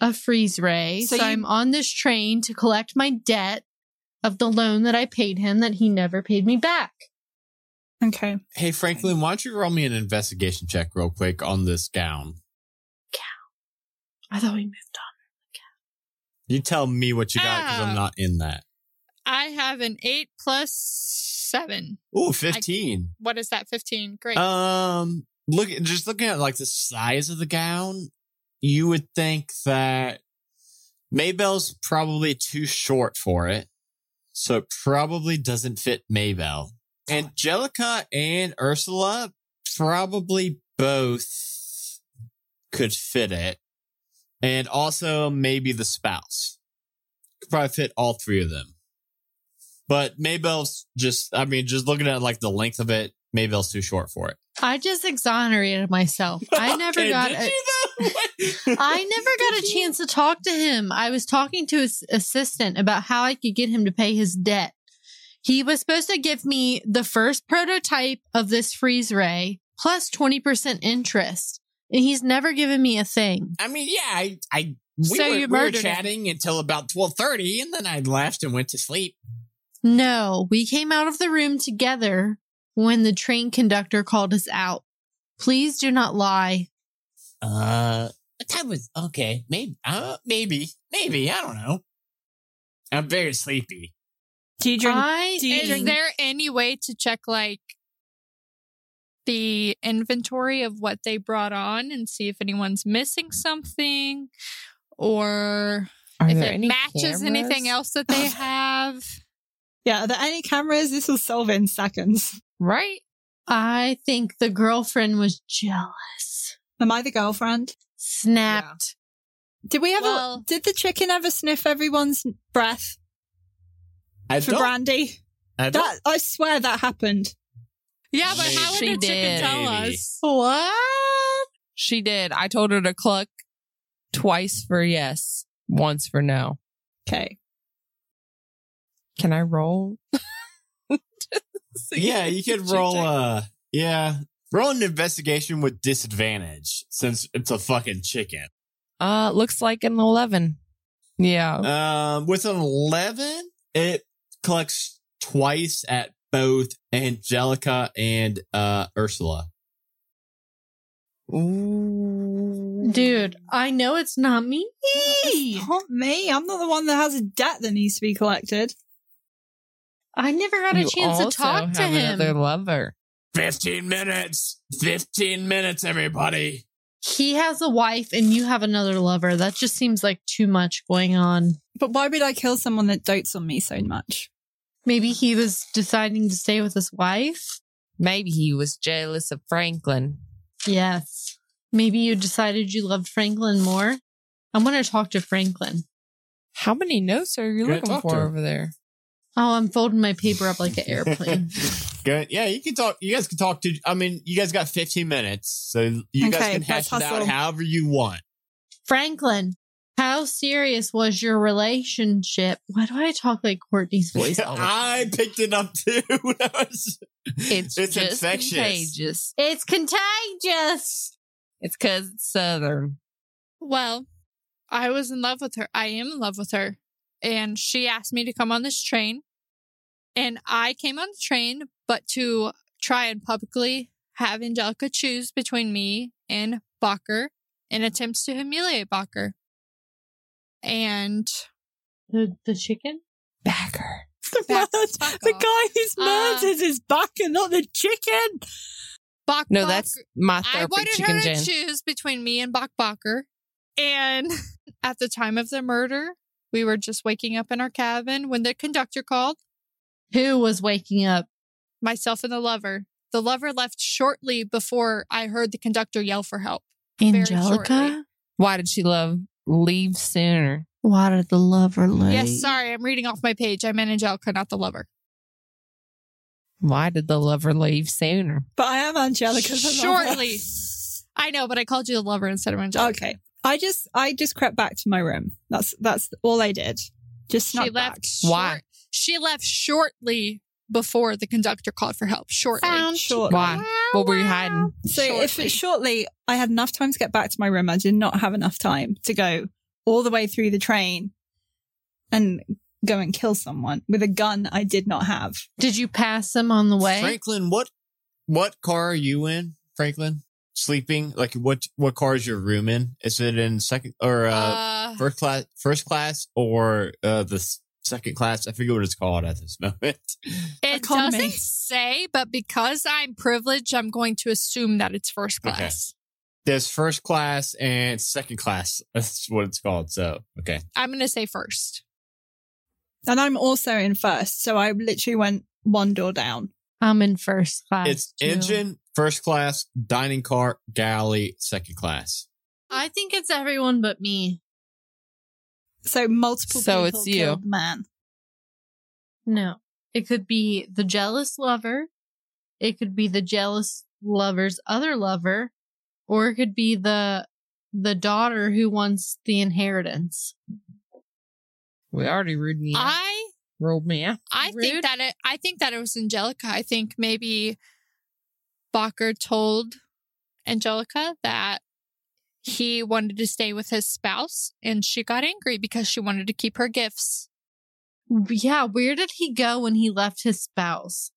[SPEAKER 7] a freeze ray, so,
[SPEAKER 3] So you-
[SPEAKER 7] I'm on this train to collect my debt of the loan that I paid him that he never paid me back.
[SPEAKER 3] Okay.
[SPEAKER 1] Hey Franklin, why don't you roll me an investigation check real quick on this gown?
[SPEAKER 7] I thought we moved on.
[SPEAKER 1] You tell me what you got because I'm
[SPEAKER 6] Ah.
[SPEAKER 1] not in that.
[SPEAKER 6] I have an eight plus seven.
[SPEAKER 1] Ooh, 15.
[SPEAKER 6] What is that? Fifteen. Great.
[SPEAKER 1] Um, look, just looking at like the size of the gown, you would think that Maybell's probably too short for it, so it probably doesn't fit Maybell. Angelica and Ursula probably both could fit it, and also maybe the spouse could probably fit all three of them. But Maybell's just, I mean, just looking at like the length of it, Maybell's too short for it.
[SPEAKER 7] I just exonerated myself. I never
[SPEAKER 1] Okay,
[SPEAKER 7] got
[SPEAKER 1] did
[SPEAKER 7] a,
[SPEAKER 1] you though?
[SPEAKER 7] I never got a chance to talk to him. I was talking to his assistant about how I could get him to pay his debt. He was supposed to give me the first prototype of this freeze ray plus 20% interest. And he's never given me a thing.
[SPEAKER 1] I mean, yeah, I, I we,
[SPEAKER 6] So
[SPEAKER 1] were,
[SPEAKER 6] you
[SPEAKER 1] we were
[SPEAKER 6] murdered him.
[SPEAKER 1] chatting until about twelve thirty, and then I left and went to sleep.
[SPEAKER 7] No, we came out of the room together when the train conductor called us out. Please do not lie.
[SPEAKER 1] Uh, what time was okay? Maybe, uh, maybe, maybe. I don't know. I'm very sleepy.
[SPEAKER 3] Do you drink?
[SPEAKER 2] Uh,
[SPEAKER 7] I
[SPEAKER 3] do you
[SPEAKER 6] Is
[SPEAKER 3] drink-
[SPEAKER 6] there any way to check like the inventory of what they brought on and see if anyone's missing something or if it matches anything else that they have?
[SPEAKER 3] yeah, are there any cameras? This will solve in seconds.
[SPEAKER 2] Right?
[SPEAKER 7] I think the girlfriend was jealous.
[SPEAKER 3] Am I the girlfriend?
[SPEAKER 7] Snapped.
[SPEAKER 3] Did we ever?
[SPEAKER 6] Well-
[SPEAKER 3] did the chicken ever sniff everyone's breath
[SPEAKER 1] I
[SPEAKER 3] for
[SPEAKER 1] don't.
[SPEAKER 3] brandy?
[SPEAKER 1] I don't
[SPEAKER 3] That I swear that happened.
[SPEAKER 6] Yeah, but how would
[SPEAKER 2] She
[SPEAKER 6] the chicken
[SPEAKER 2] did.
[SPEAKER 6] tell
[SPEAKER 1] Maybe.
[SPEAKER 6] us?
[SPEAKER 7] What?
[SPEAKER 2] She did. I told her to cluck twice for yes, once for no.
[SPEAKER 3] Okay.
[SPEAKER 2] Can I roll?
[SPEAKER 1] yeah, you could roll. Uh, yeah, roll an investigation with disadvantage since it's a fucking chicken.
[SPEAKER 2] Uh, looks like an 11. Yeah.
[SPEAKER 1] Um, with an eleven, it collects twice at both Angelica and uh Ursula.
[SPEAKER 7] Dude, I know it's not me.
[SPEAKER 3] Not me. I'm not the one that has a debt that needs to be collected.
[SPEAKER 7] I never had a
[SPEAKER 2] You
[SPEAKER 7] chance to
[SPEAKER 2] also
[SPEAKER 7] talk to
[SPEAKER 2] have
[SPEAKER 7] him.
[SPEAKER 2] Another lover.
[SPEAKER 1] Fifteen minutes. Fifteen minutes, everybody.
[SPEAKER 7] He has a wife and you have another lover. That just seems like too much going on.
[SPEAKER 3] But why would I kill someone that dotes on me so much?
[SPEAKER 7] Maybe he was deciding to stay with his wife.
[SPEAKER 2] Maybe he was jealous of Franklin.
[SPEAKER 7] Yes. Maybe you decided you loved Franklin more. I want to talk to Franklin.
[SPEAKER 2] How many notes are you
[SPEAKER 1] Go
[SPEAKER 2] looking
[SPEAKER 1] talk to
[SPEAKER 2] for
[SPEAKER 1] her.
[SPEAKER 2] over there?
[SPEAKER 7] Oh, I'm folding my paper up like an airplane.
[SPEAKER 1] Good. Yeah, you can talk. You guys can talk to. I mean, you guys got 15 minutes, so you guys
[SPEAKER 3] Okay,
[SPEAKER 1] can hash it
[SPEAKER 3] let's
[SPEAKER 1] out
[SPEAKER 3] hustle.
[SPEAKER 1] however you want.
[SPEAKER 7] Franklin, how serious was your relationship? Why do I talk like Courtney's voice? all the time?
[SPEAKER 1] I picked it up too. when I was-
[SPEAKER 2] It's, just contagious.
[SPEAKER 7] it's contagious.
[SPEAKER 2] It's because it's Southern.
[SPEAKER 6] Well, I was in love with her. I am in love with her. And she asked me to come on this train. And I came on the train, but to try and publicly have Angelica choose between me and Bacher in attempts to humiliate Bacher. And
[SPEAKER 7] The the chicken?
[SPEAKER 2] Backer.
[SPEAKER 3] The,
[SPEAKER 6] Back
[SPEAKER 3] murder-
[SPEAKER 6] the fuck
[SPEAKER 3] the
[SPEAKER 6] off.
[SPEAKER 3] guy who's
[SPEAKER 6] Uh,
[SPEAKER 3] murdered is back and not the chicken.
[SPEAKER 6] Bach
[SPEAKER 2] No,
[SPEAKER 6] Bach-
[SPEAKER 2] that's my
[SPEAKER 6] I
[SPEAKER 2] therapy
[SPEAKER 6] wanted
[SPEAKER 2] chicken
[SPEAKER 6] her to
[SPEAKER 2] gin.
[SPEAKER 6] choose between me and Bach Bacher. And at the time of the murder, we were just waking up in our cabin when the conductor called.
[SPEAKER 7] Who was waking up?
[SPEAKER 6] myself and the lover. The lover left shortly before I heard the conductor yell for help. Very
[SPEAKER 7] Angelica?
[SPEAKER 6] shortly.
[SPEAKER 2] Why did she love leave sooner?
[SPEAKER 7] Why did the lover leave?
[SPEAKER 6] Yes, sorry, I'm reading off my page. I meant Angelica, not the lover.
[SPEAKER 2] Why did the lover leave sooner?
[SPEAKER 3] But I am Angelica.
[SPEAKER 6] Shortly. I know, but I called you the lover instead of Angelica.
[SPEAKER 3] Okay. I just I just crept back to my room. That's that's all I did. Just
[SPEAKER 6] She
[SPEAKER 3] snuck back.
[SPEAKER 6] left. Short,
[SPEAKER 2] Why?
[SPEAKER 6] She left shortly before the conductor called for help. Shortly.
[SPEAKER 3] Shortly.
[SPEAKER 2] Why?
[SPEAKER 3] Oh,
[SPEAKER 2] What were you hiding?
[SPEAKER 3] So if
[SPEAKER 6] Shortly.
[SPEAKER 3] it, shortly I had enough time to get back to my room, I did not have enough time to go all the way through the train and go and kill someone with a gun I did not have.
[SPEAKER 7] Did you pass them on the way?
[SPEAKER 1] Franklin, what what car are you in, Franklin? Sleeping? Like what what car is your room in? Is it in second or uh,
[SPEAKER 6] Uh,
[SPEAKER 1] first class first class or uh the s- second class? I forget what it's called at this moment.
[SPEAKER 6] it
[SPEAKER 3] economy.
[SPEAKER 6] doesn't say, but because I'm privileged, I'm going to assume that it's first
[SPEAKER 1] Okay.
[SPEAKER 6] class.
[SPEAKER 1] There's first class and second class. That's what it's called. So okay.
[SPEAKER 6] I'm going to say first.
[SPEAKER 3] And I'm also in first, so I literally went one door down.
[SPEAKER 7] I'm in first class.
[SPEAKER 1] It's
[SPEAKER 7] too.
[SPEAKER 1] engine, first class, dining car, galley, second class.
[SPEAKER 7] I think it's everyone but me.
[SPEAKER 3] So multiple
[SPEAKER 2] So
[SPEAKER 3] people
[SPEAKER 2] it's you.
[SPEAKER 3] killed the man.
[SPEAKER 7] No. It could be the jealous lover. It could be the jealous lover's other lover. Or it could be the the daughter who wants the inheritance.
[SPEAKER 2] We already ruled me out.
[SPEAKER 6] I
[SPEAKER 2] Rolled me out.
[SPEAKER 6] I
[SPEAKER 7] Rude.
[SPEAKER 6] think that it. I think that it was Angelica. I think maybe Bacher told Angelica that he wanted to stay with his spouse, and she got angry because she wanted to keep her gifts.
[SPEAKER 7] Yeah, where did he go when he left his spouse?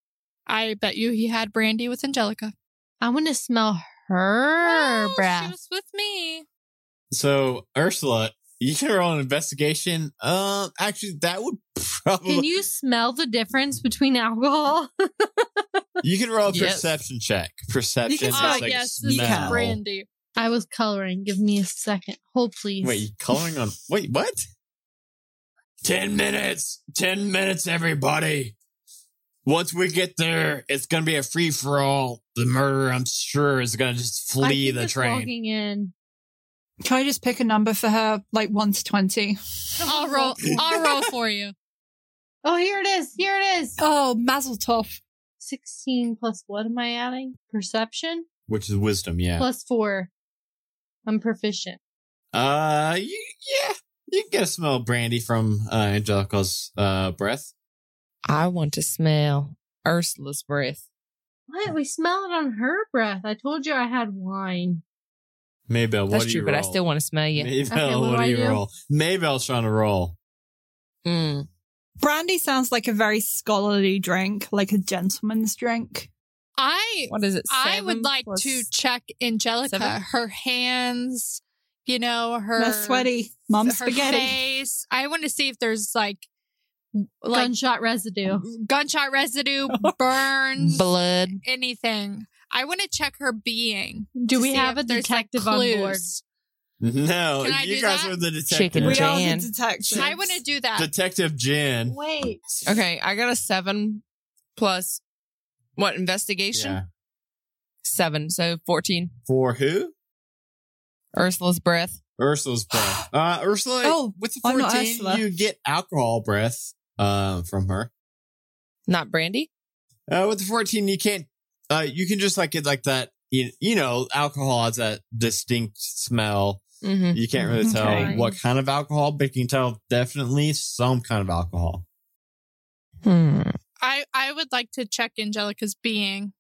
[SPEAKER 6] I bet you he had brandy with Angelica.
[SPEAKER 7] I want to smell her
[SPEAKER 6] Well,
[SPEAKER 7] bruh.
[SPEAKER 6] Oh, She was with me.
[SPEAKER 1] So Ursula, you can roll an investigation. Um, actually, that would probably
[SPEAKER 7] Can
[SPEAKER 1] you-,
[SPEAKER 7] you smell the difference between alcohol?
[SPEAKER 1] can roll a
[SPEAKER 2] Yes.
[SPEAKER 1] perception check. Perception.
[SPEAKER 3] You can
[SPEAKER 1] is
[SPEAKER 3] smell
[SPEAKER 6] Oh,
[SPEAKER 3] it.
[SPEAKER 1] like
[SPEAKER 6] yes, this
[SPEAKER 1] smell.
[SPEAKER 6] is brandy.
[SPEAKER 7] I was coloring. Give me a second. Hold, please.
[SPEAKER 1] Wait, you coloring on? Wait, what? Ten minutes. Ten minutes, everybody. Once we get there, it's gonna be a free for all. The murderer, I'm sure, is gonna just
[SPEAKER 7] I
[SPEAKER 1] flee
[SPEAKER 7] think
[SPEAKER 1] the
[SPEAKER 7] it's
[SPEAKER 1] train.
[SPEAKER 7] Logging in.
[SPEAKER 3] Can I just pick a number for her, like one to twenty?
[SPEAKER 6] I'll roll. I'll roll for you.
[SPEAKER 7] Oh, here it is. Here it is.
[SPEAKER 3] Oh, Mazel Tov.
[SPEAKER 7] 16 plus what am I adding? Perception
[SPEAKER 1] Which is wisdom, yeah.
[SPEAKER 7] plus four. I'm proficient.
[SPEAKER 1] Uh, you, yeah, you can get a smell of brandy from uh, Angelica's uh, breath.
[SPEAKER 2] I want to smell Ursula's breath.
[SPEAKER 7] What? We smell it on her breath. I told you I had wine.
[SPEAKER 1] Maybell, what
[SPEAKER 2] That's
[SPEAKER 1] do
[SPEAKER 2] true,
[SPEAKER 1] you
[SPEAKER 2] but I
[SPEAKER 1] roll?
[SPEAKER 2] still want to smell you.
[SPEAKER 1] Maybell,
[SPEAKER 7] Okay,
[SPEAKER 1] what,
[SPEAKER 7] what do
[SPEAKER 1] do
[SPEAKER 7] I
[SPEAKER 1] you
[SPEAKER 7] do?
[SPEAKER 1] roll? Maybell's trying to roll.
[SPEAKER 2] Mm.
[SPEAKER 3] Brandy sounds like a very scholarly drink, like a gentleman's drink.
[SPEAKER 6] I
[SPEAKER 2] What is it?
[SPEAKER 6] I
[SPEAKER 2] seven
[SPEAKER 6] would like
[SPEAKER 2] plus-
[SPEAKER 6] to check Angelica,
[SPEAKER 2] seven?
[SPEAKER 6] her hands, you know, her
[SPEAKER 3] They're sweaty. Mom's
[SPEAKER 6] her
[SPEAKER 3] spaghetti.
[SPEAKER 6] face. I want to see if there's like like
[SPEAKER 7] Gunshot residue.
[SPEAKER 6] gunshot residue, burns,
[SPEAKER 2] blood.
[SPEAKER 6] anything. I want to check her being.
[SPEAKER 7] Do
[SPEAKER 6] to
[SPEAKER 7] we
[SPEAKER 6] see
[SPEAKER 7] have
[SPEAKER 6] if
[SPEAKER 7] a
[SPEAKER 6] there's, like,
[SPEAKER 7] detective on board?
[SPEAKER 6] clues.
[SPEAKER 1] No,
[SPEAKER 6] Can I
[SPEAKER 1] you
[SPEAKER 6] do
[SPEAKER 1] guys
[SPEAKER 6] that?
[SPEAKER 1] are the detective.
[SPEAKER 2] Chicken
[SPEAKER 3] We
[SPEAKER 2] Jan.
[SPEAKER 3] are the detectives.
[SPEAKER 6] I want to do that.
[SPEAKER 1] Detective Jan.
[SPEAKER 7] Wait.
[SPEAKER 2] Okay, I got a seven plus what investigation?
[SPEAKER 1] Yeah.
[SPEAKER 2] Seven, so fourteen.
[SPEAKER 1] For who?
[SPEAKER 2] Ursula's breath.
[SPEAKER 1] Ursula's breath. Uh, Ursula.
[SPEAKER 3] Oh,
[SPEAKER 1] with the
[SPEAKER 3] I'm not
[SPEAKER 1] fourteen,
[SPEAKER 3] Ursula.
[SPEAKER 1] you get alcohol breath uh, from her.
[SPEAKER 2] Not brandy.
[SPEAKER 1] Uh, with the fourteen, you can't. Uh, you can just like get like that. You, you know, alcohol has that distinct smell.
[SPEAKER 2] Mm-hmm.
[SPEAKER 1] You can't really tell
[SPEAKER 3] Okay.
[SPEAKER 1] what kind of alcohol, but you can tell definitely some kind of alcohol.
[SPEAKER 2] Hmm.
[SPEAKER 6] I I would like to check Angelica's being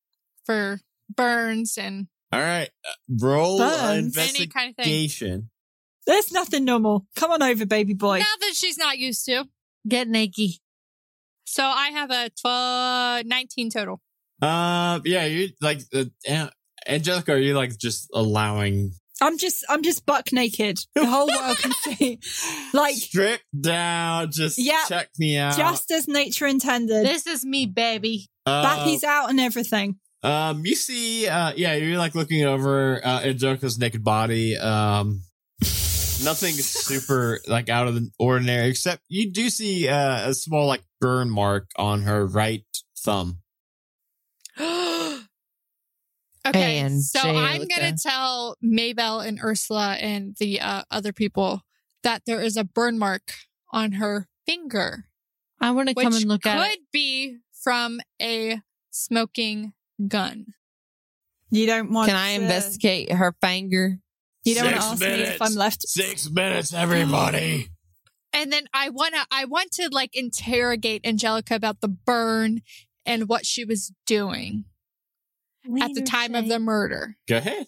[SPEAKER 6] for burns and
[SPEAKER 1] All right, uh, roll
[SPEAKER 3] Bugs.
[SPEAKER 1] an
[SPEAKER 6] any kind of thing.
[SPEAKER 1] investigation.
[SPEAKER 3] There's nothing normal. Come on over, baby boy.
[SPEAKER 6] Now that she's not used to.
[SPEAKER 7] Get naked.
[SPEAKER 6] So I have a 12, 19 total.
[SPEAKER 1] Uh, yeah, you like uh, An- Angelica. Are you like just allowing
[SPEAKER 3] I'm just, I'm just buck naked. The whole world can see. Like
[SPEAKER 1] strip down? Just
[SPEAKER 3] Yeah,
[SPEAKER 1] check me out.
[SPEAKER 3] just as nature intended.
[SPEAKER 7] This is me, baby.
[SPEAKER 1] Uh,
[SPEAKER 3] Backy's out and everything.
[SPEAKER 1] um, you see, uh, yeah, you're like looking over uh, Angelica's naked body. Um, nothing super like out of the ordinary, except you do see uh, a small like burn mark on her right thumb.
[SPEAKER 6] Okay.
[SPEAKER 2] And
[SPEAKER 6] so I'm going
[SPEAKER 2] Angelica.
[SPEAKER 6] to tell Maybell and Ursula and the uh, other people that there is a burn mark on her finger,
[SPEAKER 7] I want to
[SPEAKER 6] which
[SPEAKER 7] come and look
[SPEAKER 6] could
[SPEAKER 7] at it.
[SPEAKER 6] be from a smoking gun.
[SPEAKER 3] You don't want.
[SPEAKER 2] Can I
[SPEAKER 3] to-
[SPEAKER 2] investigate her finger?
[SPEAKER 3] You don't want
[SPEAKER 1] Six
[SPEAKER 3] to ask me
[SPEAKER 1] minutes.
[SPEAKER 3] if I'm left.
[SPEAKER 1] Six minutes, everybody.
[SPEAKER 6] And then I want to I want to like interrogate Angelica about the burn and what she was doing at the time of the murder.
[SPEAKER 1] Go ahead.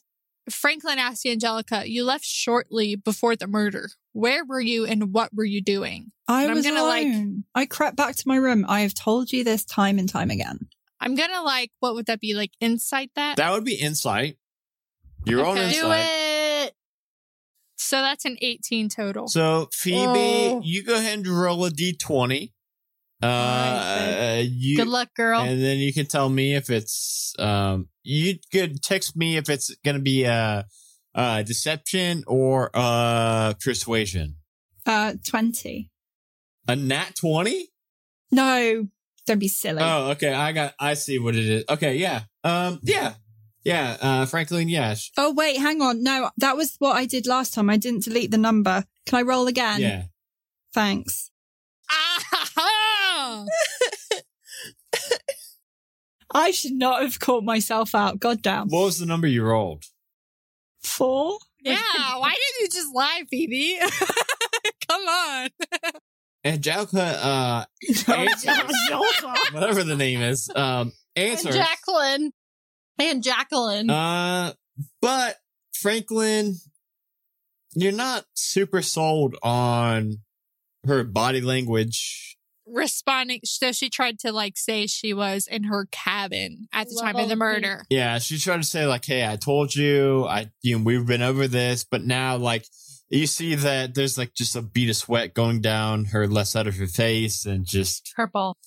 [SPEAKER 6] Franklin asked Angelica, "You left shortly before the murder. Where were you and what were you doing?"
[SPEAKER 3] I
[SPEAKER 6] And I'm
[SPEAKER 3] was
[SPEAKER 6] gonna, like-
[SPEAKER 3] alone. I crept back to my room. I have told you this time and time again.
[SPEAKER 6] I'm gonna like, what would that be like? Insight that.
[SPEAKER 1] That would be insight. Your own
[SPEAKER 6] Okay. Do
[SPEAKER 7] Do
[SPEAKER 1] insight.
[SPEAKER 7] it.
[SPEAKER 6] so that's an 18 total.
[SPEAKER 1] So Phoebe,
[SPEAKER 7] Oh.
[SPEAKER 1] you go ahead and roll a d20. Uh,
[SPEAKER 3] Alright,
[SPEAKER 1] you,
[SPEAKER 7] Good luck, girl.
[SPEAKER 1] and then you can tell me if it's um. You could text me if it's gonna be uh, uh deception or uh persuasion.
[SPEAKER 3] Uh, twenty.
[SPEAKER 1] A nat twenty.
[SPEAKER 3] No, don't be silly.
[SPEAKER 1] Oh, okay. I got. I see what it is. Okay, yeah. Um, yeah, yeah. Uh, Franklin, yeah, sh-
[SPEAKER 3] Oh wait, hang on. No, that was what I did last time. I didn't delete the number. Can I roll again?
[SPEAKER 1] yeah.
[SPEAKER 3] Thanks.
[SPEAKER 6] Ah-ha-ha!
[SPEAKER 3] I should not have called myself out. God damn.
[SPEAKER 1] What was the number you rolled?
[SPEAKER 3] Four?
[SPEAKER 6] yeah, why did you just lie, Phoebe? Come on.
[SPEAKER 1] Angelica, Eh, uh, answers, whatever the name is, um,
[SPEAKER 7] And
[SPEAKER 1] answers.
[SPEAKER 7] Jacqueline. And
[SPEAKER 6] Mm.
[SPEAKER 7] Jacqueline.
[SPEAKER 1] Uh, but Franklin, you're not super sold on her body language
[SPEAKER 6] responding. So she tried to like say she was in her cabin at the time of the
[SPEAKER 7] Lovely.
[SPEAKER 6] murder.
[SPEAKER 1] Yeah, she tried to say like, "Hey, I told you, I you know, we've been over this," but now like you see that there's like just a bead of sweat going down her left side of her face, and just
[SPEAKER 6] Purple.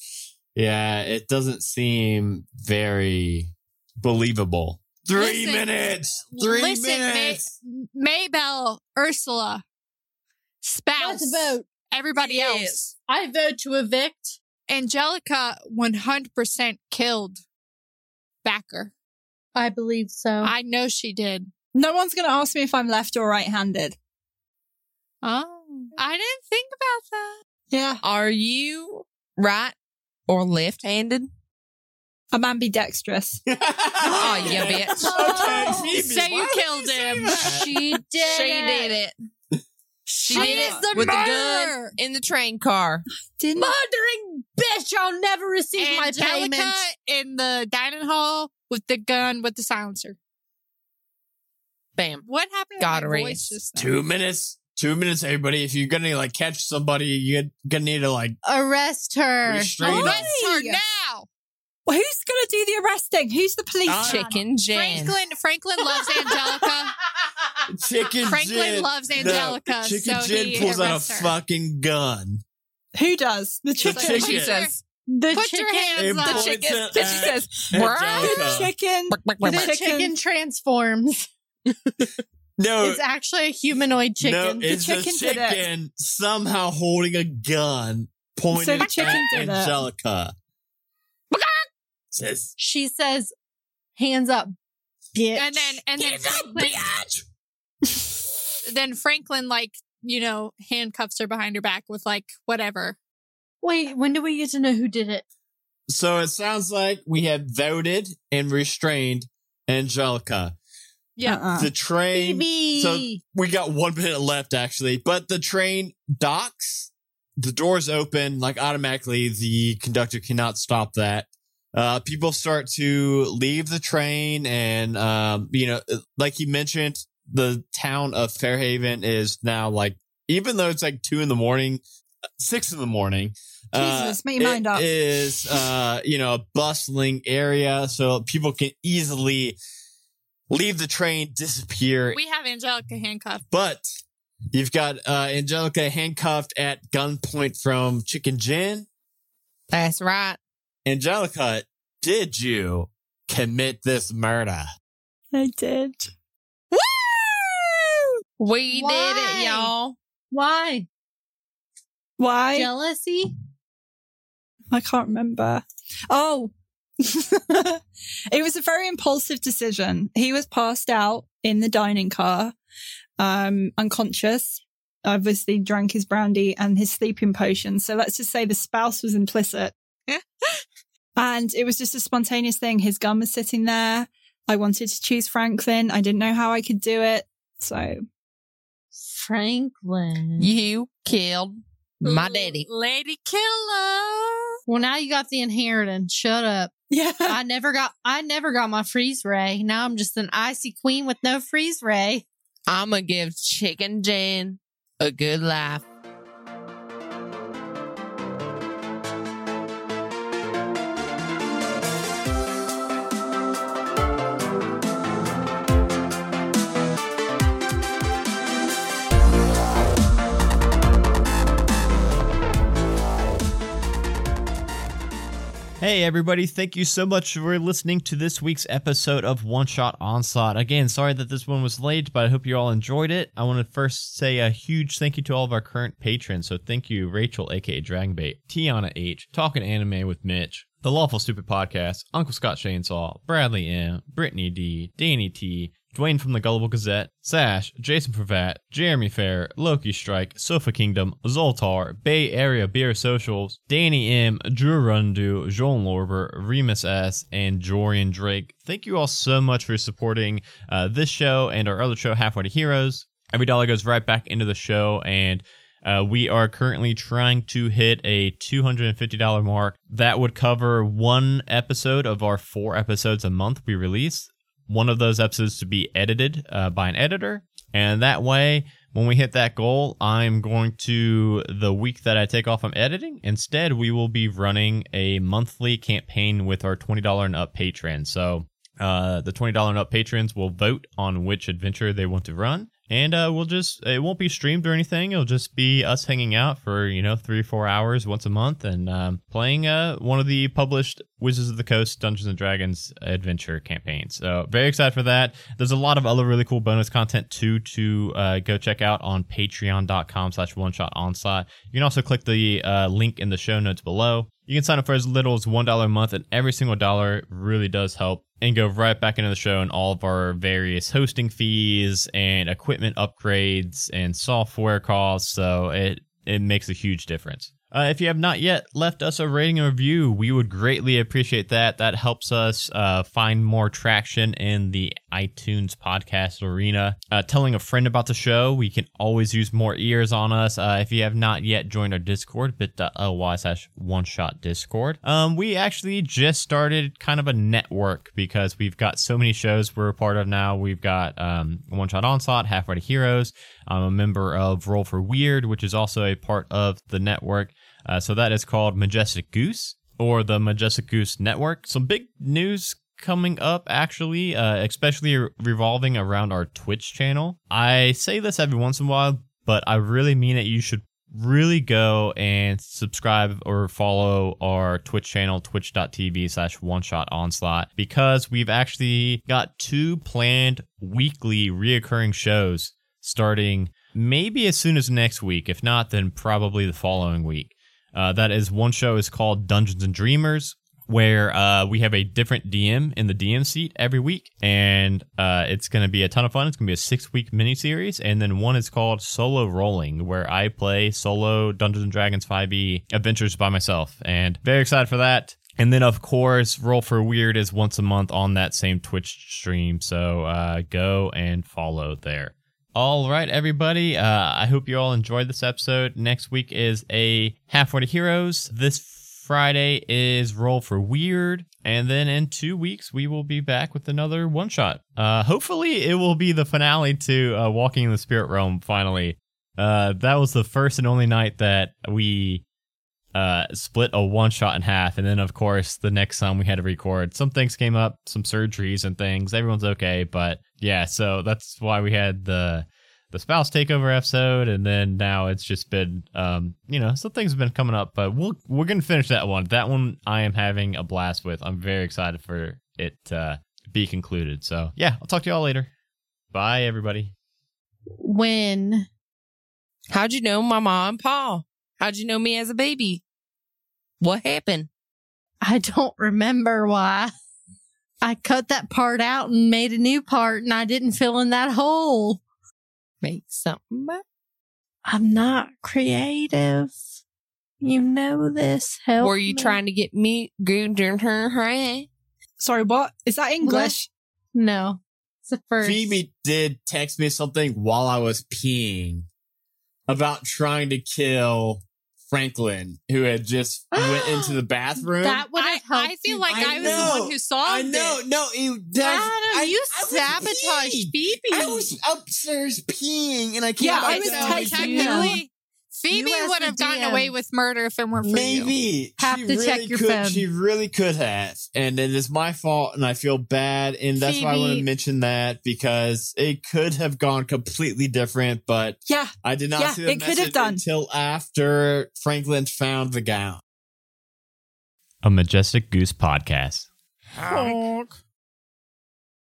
[SPEAKER 1] yeah, it doesn't seem very believable. Three
[SPEAKER 6] Listen-
[SPEAKER 1] minutes. Three
[SPEAKER 6] listen, May-
[SPEAKER 1] minutes.
[SPEAKER 7] mm-hmm.
[SPEAKER 6] Maybell, Ursula, spouse,
[SPEAKER 7] Let's vote.
[SPEAKER 6] everybody else.
[SPEAKER 2] Yes.
[SPEAKER 7] I vote to evict.
[SPEAKER 6] Angelica 100% killed Backer.
[SPEAKER 7] I believe so.
[SPEAKER 6] I know she did.
[SPEAKER 3] No one's going to ask me if I'm left or right handed.
[SPEAKER 6] Oh, I didn't think about that.
[SPEAKER 3] Yeah.
[SPEAKER 2] Are you right or left handed?
[SPEAKER 3] I'm ambidextrous.
[SPEAKER 2] Oh, you bitch.
[SPEAKER 1] Okay, Phoebe,
[SPEAKER 6] So you
[SPEAKER 1] why would
[SPEAKER 6] killed
[SPEAKER 1] say
[SPEAKER 6] him.
[SPEAKER 1] that?
[SPEAKER 7] she did.
[SPEAKER 2] She
[SPEAKER 7] it.
[SPEAKER 2] did it.
[SPEAKER 6] She
[SPEAKER 2] She did
[SPEAKER 6] is
[SPEAKER 2] it
[SPEAKER 6] the
[SPEAKER 2] with the gun
[SPEAKER 6] murderer.
[SPEAKER 2] in the train car.
[SPEAKER 3] Didn't
[SPEAKER 7] Murdering bitch! I'll never receive my
[SPEAKER 6] Angelica
[SPEAKER 7] payment.
[SPEAKER 6] in the dining hall with the gun with the silencer.
[SPEAKER 2] Bam.
[SPEAKER 6] What happened?
[SPEAKER 2] God
[SPEAKER 6] to my voice
[SPEAKER 2] erased.
[SPEAKER 6] just now?
[SPEAKER 1] Two minutes. Two minutes, everybody. If you're gonna like catch somebody, you're gonna need to like
[SPEAKER 7] Arrest her.
[SPEAKER 1] restrain them.
[SPEAKER 6] Arrest her now.
[SPEAKER 3] Well, who's going to do the arresting? Who's the police?
[SPEAKER 1] Uh,
[SPEAKER 3] chief?
[SPEAKER 2] Chicken Jan.
[SPEAKER 6] Franklin Franklin loves Angelica.
[SPEAKER 1] Chicken
[SPEAKER 6] Uh, Franklin
[SPEAKER 1] Jen.
[SPEAKER 6] loves
[SPEAKER 1] No,
[SPEAKER 6] Angelica,
[SPEAKER 1] Chicken
[SPEAKER 6] so
[SPEAKER 1] Jen
[SPEAKER 6] he
[SPEAKER 1] pulls out
[SPEAKER 6] arrests
[SPEAKER 1] a
[SPEAKER 6] her.
[SPEAKER 1] fucking gun.
[SPEAKER 3] Who does? The
[SPEAKER 1] The Oh,
[SPEAKER 3] chicken.
[SPEAKER 6] Franklin-
[SPEAKER 1] chicken.
[SPEAKER 2] She says,
[SPEAKER 7] The
[SPEAKER 6] Put
[SPEAKER 7] chicken,
[SPEAKER 6] your
[SPEAKER 1] It
[SPEAKER 6] hands up.
[SPEAKER 1] points
[SPEAKER 3] chicken.
[SPEAKER 1] at
[SPEAKER 3] She says,
[SPEAKER 1] Angelica.
[SPEAKER 3] the chicken.
[SPEAKER 2] "Bark, bark,
[SPEAKER 7] The
[SPEAKER 2] bark, bark."
[SPEAKER 7] chicken,
[SPEAKER 3] chicken
[SPEAKER 7] transforms.
[SPEAKER 1] No,
[SPEAKER 7] it's actually a humanoid chicken.
[SPEAKER 1] no, it's the
[SPEAKER 3] chicken
[SPEAKER 1] chicken,
[SPEAKER 3] did it.
[SPEAKER 1] somehow holding a gun pointed
[SPEAKER 3] So the
[SPEAKER 1] at
[SPEAKER 3] chicken did it.
[SPEAKER 1] Angelica. Says,
[SPEAKER 7] she says, "Hands up, bitch."
[SPEAKER 6] And then and then Franklin, then Franklin like, you know, handcuffs her behind her back with like whatever.
[SPEAKER 7] wait, when do we get to know who did it?
[SPEAKER 1] so it sounds like we have voted and restrained Angelica.
[SPEAKER 6] Yeah.
[SPEAKER 3] Uh-uh.
[SPEAKER 1] The train.
[SPEAKER 7] Phoebe.
[SPEAKER 1] so- We got one minute left, actually, but the train docks. The doors open, like automatically, the conductor cannot stop that. Uh, people start to leave the train, and um, you know, like you mentioned, the town of Fairhaven is now like, even though it's like two in the morning, uh, six in the morning. uh,
[SPEAKER 3] Jesus, make your mind
[SPEAKER 1] it
[SPEAKER 3] up.
[SPEAKER 1] Is uh, you know a bustling area, so people can easily leave the train, disappear,
[SPEAKER 6] We have Angelica handcuffed.
[SPEAKER 1] but you've got uh, Angelica handcuffed at gunpoint from Chicken Jen.
[SPEAKER 2] That's right.
[SPEAKER 1] Angelica, did you commit this murder?
[SPEAKER 3] I did.
[SPEAKER 2] We did
[SPEAKER 7] Why?
[SPEAKER 2] it, y'all.
[SPEAKER 7] Why
[SPEAKER 3] Why?
[SPEAKER 7] jealousy?
[SPEAKER 3] I can't remember. Oh, it was a very impulsive decision. He was passed out in the dining car, um, unconscious. Obviously, drank his brandy and his sleeping potion. So let's just say the spouse was implicit. and it was just a spontaneous thing. His gun was sitting there. I wanted to choose Franklin. I didn't know how I could do it. So
[SPEAKER 7] Franklin.
[SPEAKER 2] You killed my daddy.
[SPEAKER 6] Lady Killer.
[SPEAKER 7] Well, now you got the inheritance. Shut up.
[SPEAKER 3] yeah,
[SPEAKER 7] I never got. I never got my freeze ray. Now I'm just an icy queen with no freeze ray.
[SPEAKER 2] I'm going to give Chicken Jen a good life.
[SPEAKER 9] Hey, everybody, thank you so much for listening to this week's episode of One Shot Onslaught. Again, sorry that this one was late, but I hope you all enjoyed it. I want to first say a huge thank you to all of our current patrons. So, thank you, Rachel, aka Dragonbait, Tiana H, Talking Anime with Mitch, The Lawful Stupid Podcast, Uncle Scott Chainsaw, Bradley M, Brittany D, Danny T, Dwayne from the Gullible Gazette, Sash, Jason Pravat, Jeremy Fair, Loki Strike, Sofa Kingdom, Zoltar, Bay Area Beer Socials, Danny M, Drew Rundu, Joan Lorber, Remus S, and Jorian Drake. Thank you all so much for supporting uh, this show and our other show, Halfway to Heroes. Every dollar goes right back into the show, and uh, we are currently trying to hit a $250 mark. That would cover one episode of our four episodes a month we release one of those episodes to be edited uh, by an editor.
[SPEAKER 1] And that way, when we hit that goal, I'm going to the week that I take off from editing. Instead, we will be running a monthly campaign with our $20 and up patrons. So uh, the $20 and up patrons will vote on which adventure they want to run. And uh, we'll just, it won't be streamed or anything. It'll just be us hanging out for, you know, three or four hours once a month and um, playing uh, one of the published Wizards of the Coast Dungeons and Dragons adventure campaigns. So, very excited for that. There's a lot of other really cool bonus content too to uh, go check out on patreon.com slash one shot onslaught. You can also click the uh, link in the show notes below. You can sign up for as little as $1 a month, and every single dollar really does help. And go right back into the show and all of our various hosting fees and equipment upgrades and software costs. So it it makes a huge difference. Uh, if you have not yet left us a rating and review, we would greatly appreciate that. That helps us uh, find more traction in the iTunes podcast arena. Uh, telling a friend about the show, we can always use more ears on us. Uh, if you have not yet joined our Discord, bit.ly slash one shot Discord. Um, we actually just started kind of a network because we've got so many shows we're a part of now. We've got um, One Shot Onslaught, Halfway to Heroes. I'm a member of Roll for Weird, which is also a part of the network. Uh, so that is called Majestic Goose or the Majestic Goose Network. Some big news coming up, actually, uh, especially revolving around our Twitch channel. I say this every once in a while, but I really mean it. You should really go and subscribe or follow our Twitch channel, twitch.tv slash one shot onslaught, because we've actually got two planned weekly reoccurring shows starting maybe as soon as next week. If not, then probably the following week. Uh, that is one show is called Dungeons and Dreamers, where uh, we have a different DM in the DM seat every week, and uh, it's going to be a ton of fun. It's going to be a six week mini series, and then one is called Solo Rolling, where I play solo Dungeons and Dragons 5e adventures by myself, and very excited for that. And then, of course, Roll for Weird is once a month on that same Twitch stream. So uh, go and follow there. All right, everybody. Uh, I hope you all enjoyed this episode. Next week is a Halfway to Heroes. This Friday is Roll for Weird. And then in two weeks, we will be back with another one shot. Uh, hopefully, it will be the finale to uh, Walking in the Spirit Realm, finally. Uh, that was the first and only night that we uh, split a one shot in half. And then, of course, the next time we had to record, some things came up, some surgeries and things. Everyone's okay, but yeah, so that's why we had the the spouse takeover episode, and then now it's just been, um, you know, some things have been coming up, but we'll we're gonna finish that one. That one I am having a blast with. I'm very excited for it uh, to be concluded. So yeah, I'll talk to y'all later. Bye, everybody.
[SPEAKER 7] When
[SPEAKER 2] How'd you know my mom and Paul? How'd you know me as a baby? What happened?
[SPEAKER 7] I don't remember why I cut that part out and made a new part and I didn't fill in that hole.
[SPEAKER 2] Make something up.
[SPEAKER 7] I'm not creative. You know this. Help.
[SPEAKER 2] Were you
[SPEAKER 7] me.
[SPEAKER 2] trying to get me good in her hand?
[SPEAKER 3] Sorry, what? Is that English?
[SPEAKER 7] No. It's the first.
[SPEAKER 11] Phoebe did text me something while I was peeing about trying to kill Franklin, who had just went into the bathroom.
[SPEAKER 7] That would
[SPEAKER 6] I,
[SPEAKER 7] have helped.
[SPEAKER 6] I feel
[SPEAKER 7] you.
[SPEAKER 6] like
[SPEAKER 11] I
[SPEAKER 6] I, was the
[SPEAKER 11] know.
[SPEAKER 6] one who saw
[SPEAKER 11] I know,
[SPEAKER 6] it.
[SPEAKER 11] no, it does.
[SPEAKER 7] Adam,
[SPEAKER 11] I,
[SPEAKER 7] you
[SPEAKER 11] I was
[SPEAKER 7] sabotaged
[SPEAKER 11] peeing.
[SPEAKER 7] Phoebe.
[SPEAKER 11] I was upstairs peeing, and I came
[SPEAKER 3] Yeah,
[SPEAKER 11] back
[SPEAKER 3] I was
[SPEAKER 11] down.
[SPEAKER 6] so
[SPEAKER 3] texting
[SPEAKER 6] technically, Phoebe
[SPEAKER 7] You as
[SPEAKER 6] would
[SPEAKER 7] the
[SPEAKER 6] have gotten
[SPEAKER 7] DM.
[SPEAKER 6] away with murder if it weren't for
[SPEAKER 11] Maybe
[SPEAKER 6] you.
[SPEAKER 7] Have
[SPEAKER 11] she
[SPEAKER 7] to
[SPEAKER 11] really
[SPEAKER 7] check your
[SPEAKER 11] could,
[SPEAKER 7] phone.
[SPEAKER 11] She really could have, and it is my fault, and I feel bad, and that's why I want to
[SPEAKER 6] Phoebe.
[SPEAKER 11] mention that because it could have gone completely different, but
[SPEAKER 3] Yeah.
[SPEAKER 11] I did not
[SPEAKER 3] Yeah,
[SPEAKER 11] see the
[SPEAKER 3] it could have
[SPEAKER 11] message
[SPEAKER 3] done.
[SPEAKER 11] until after Franklin found the gown.
[SPEAKER 1] A Majestic Goose podcast.
[SPEAKER 6] Honk.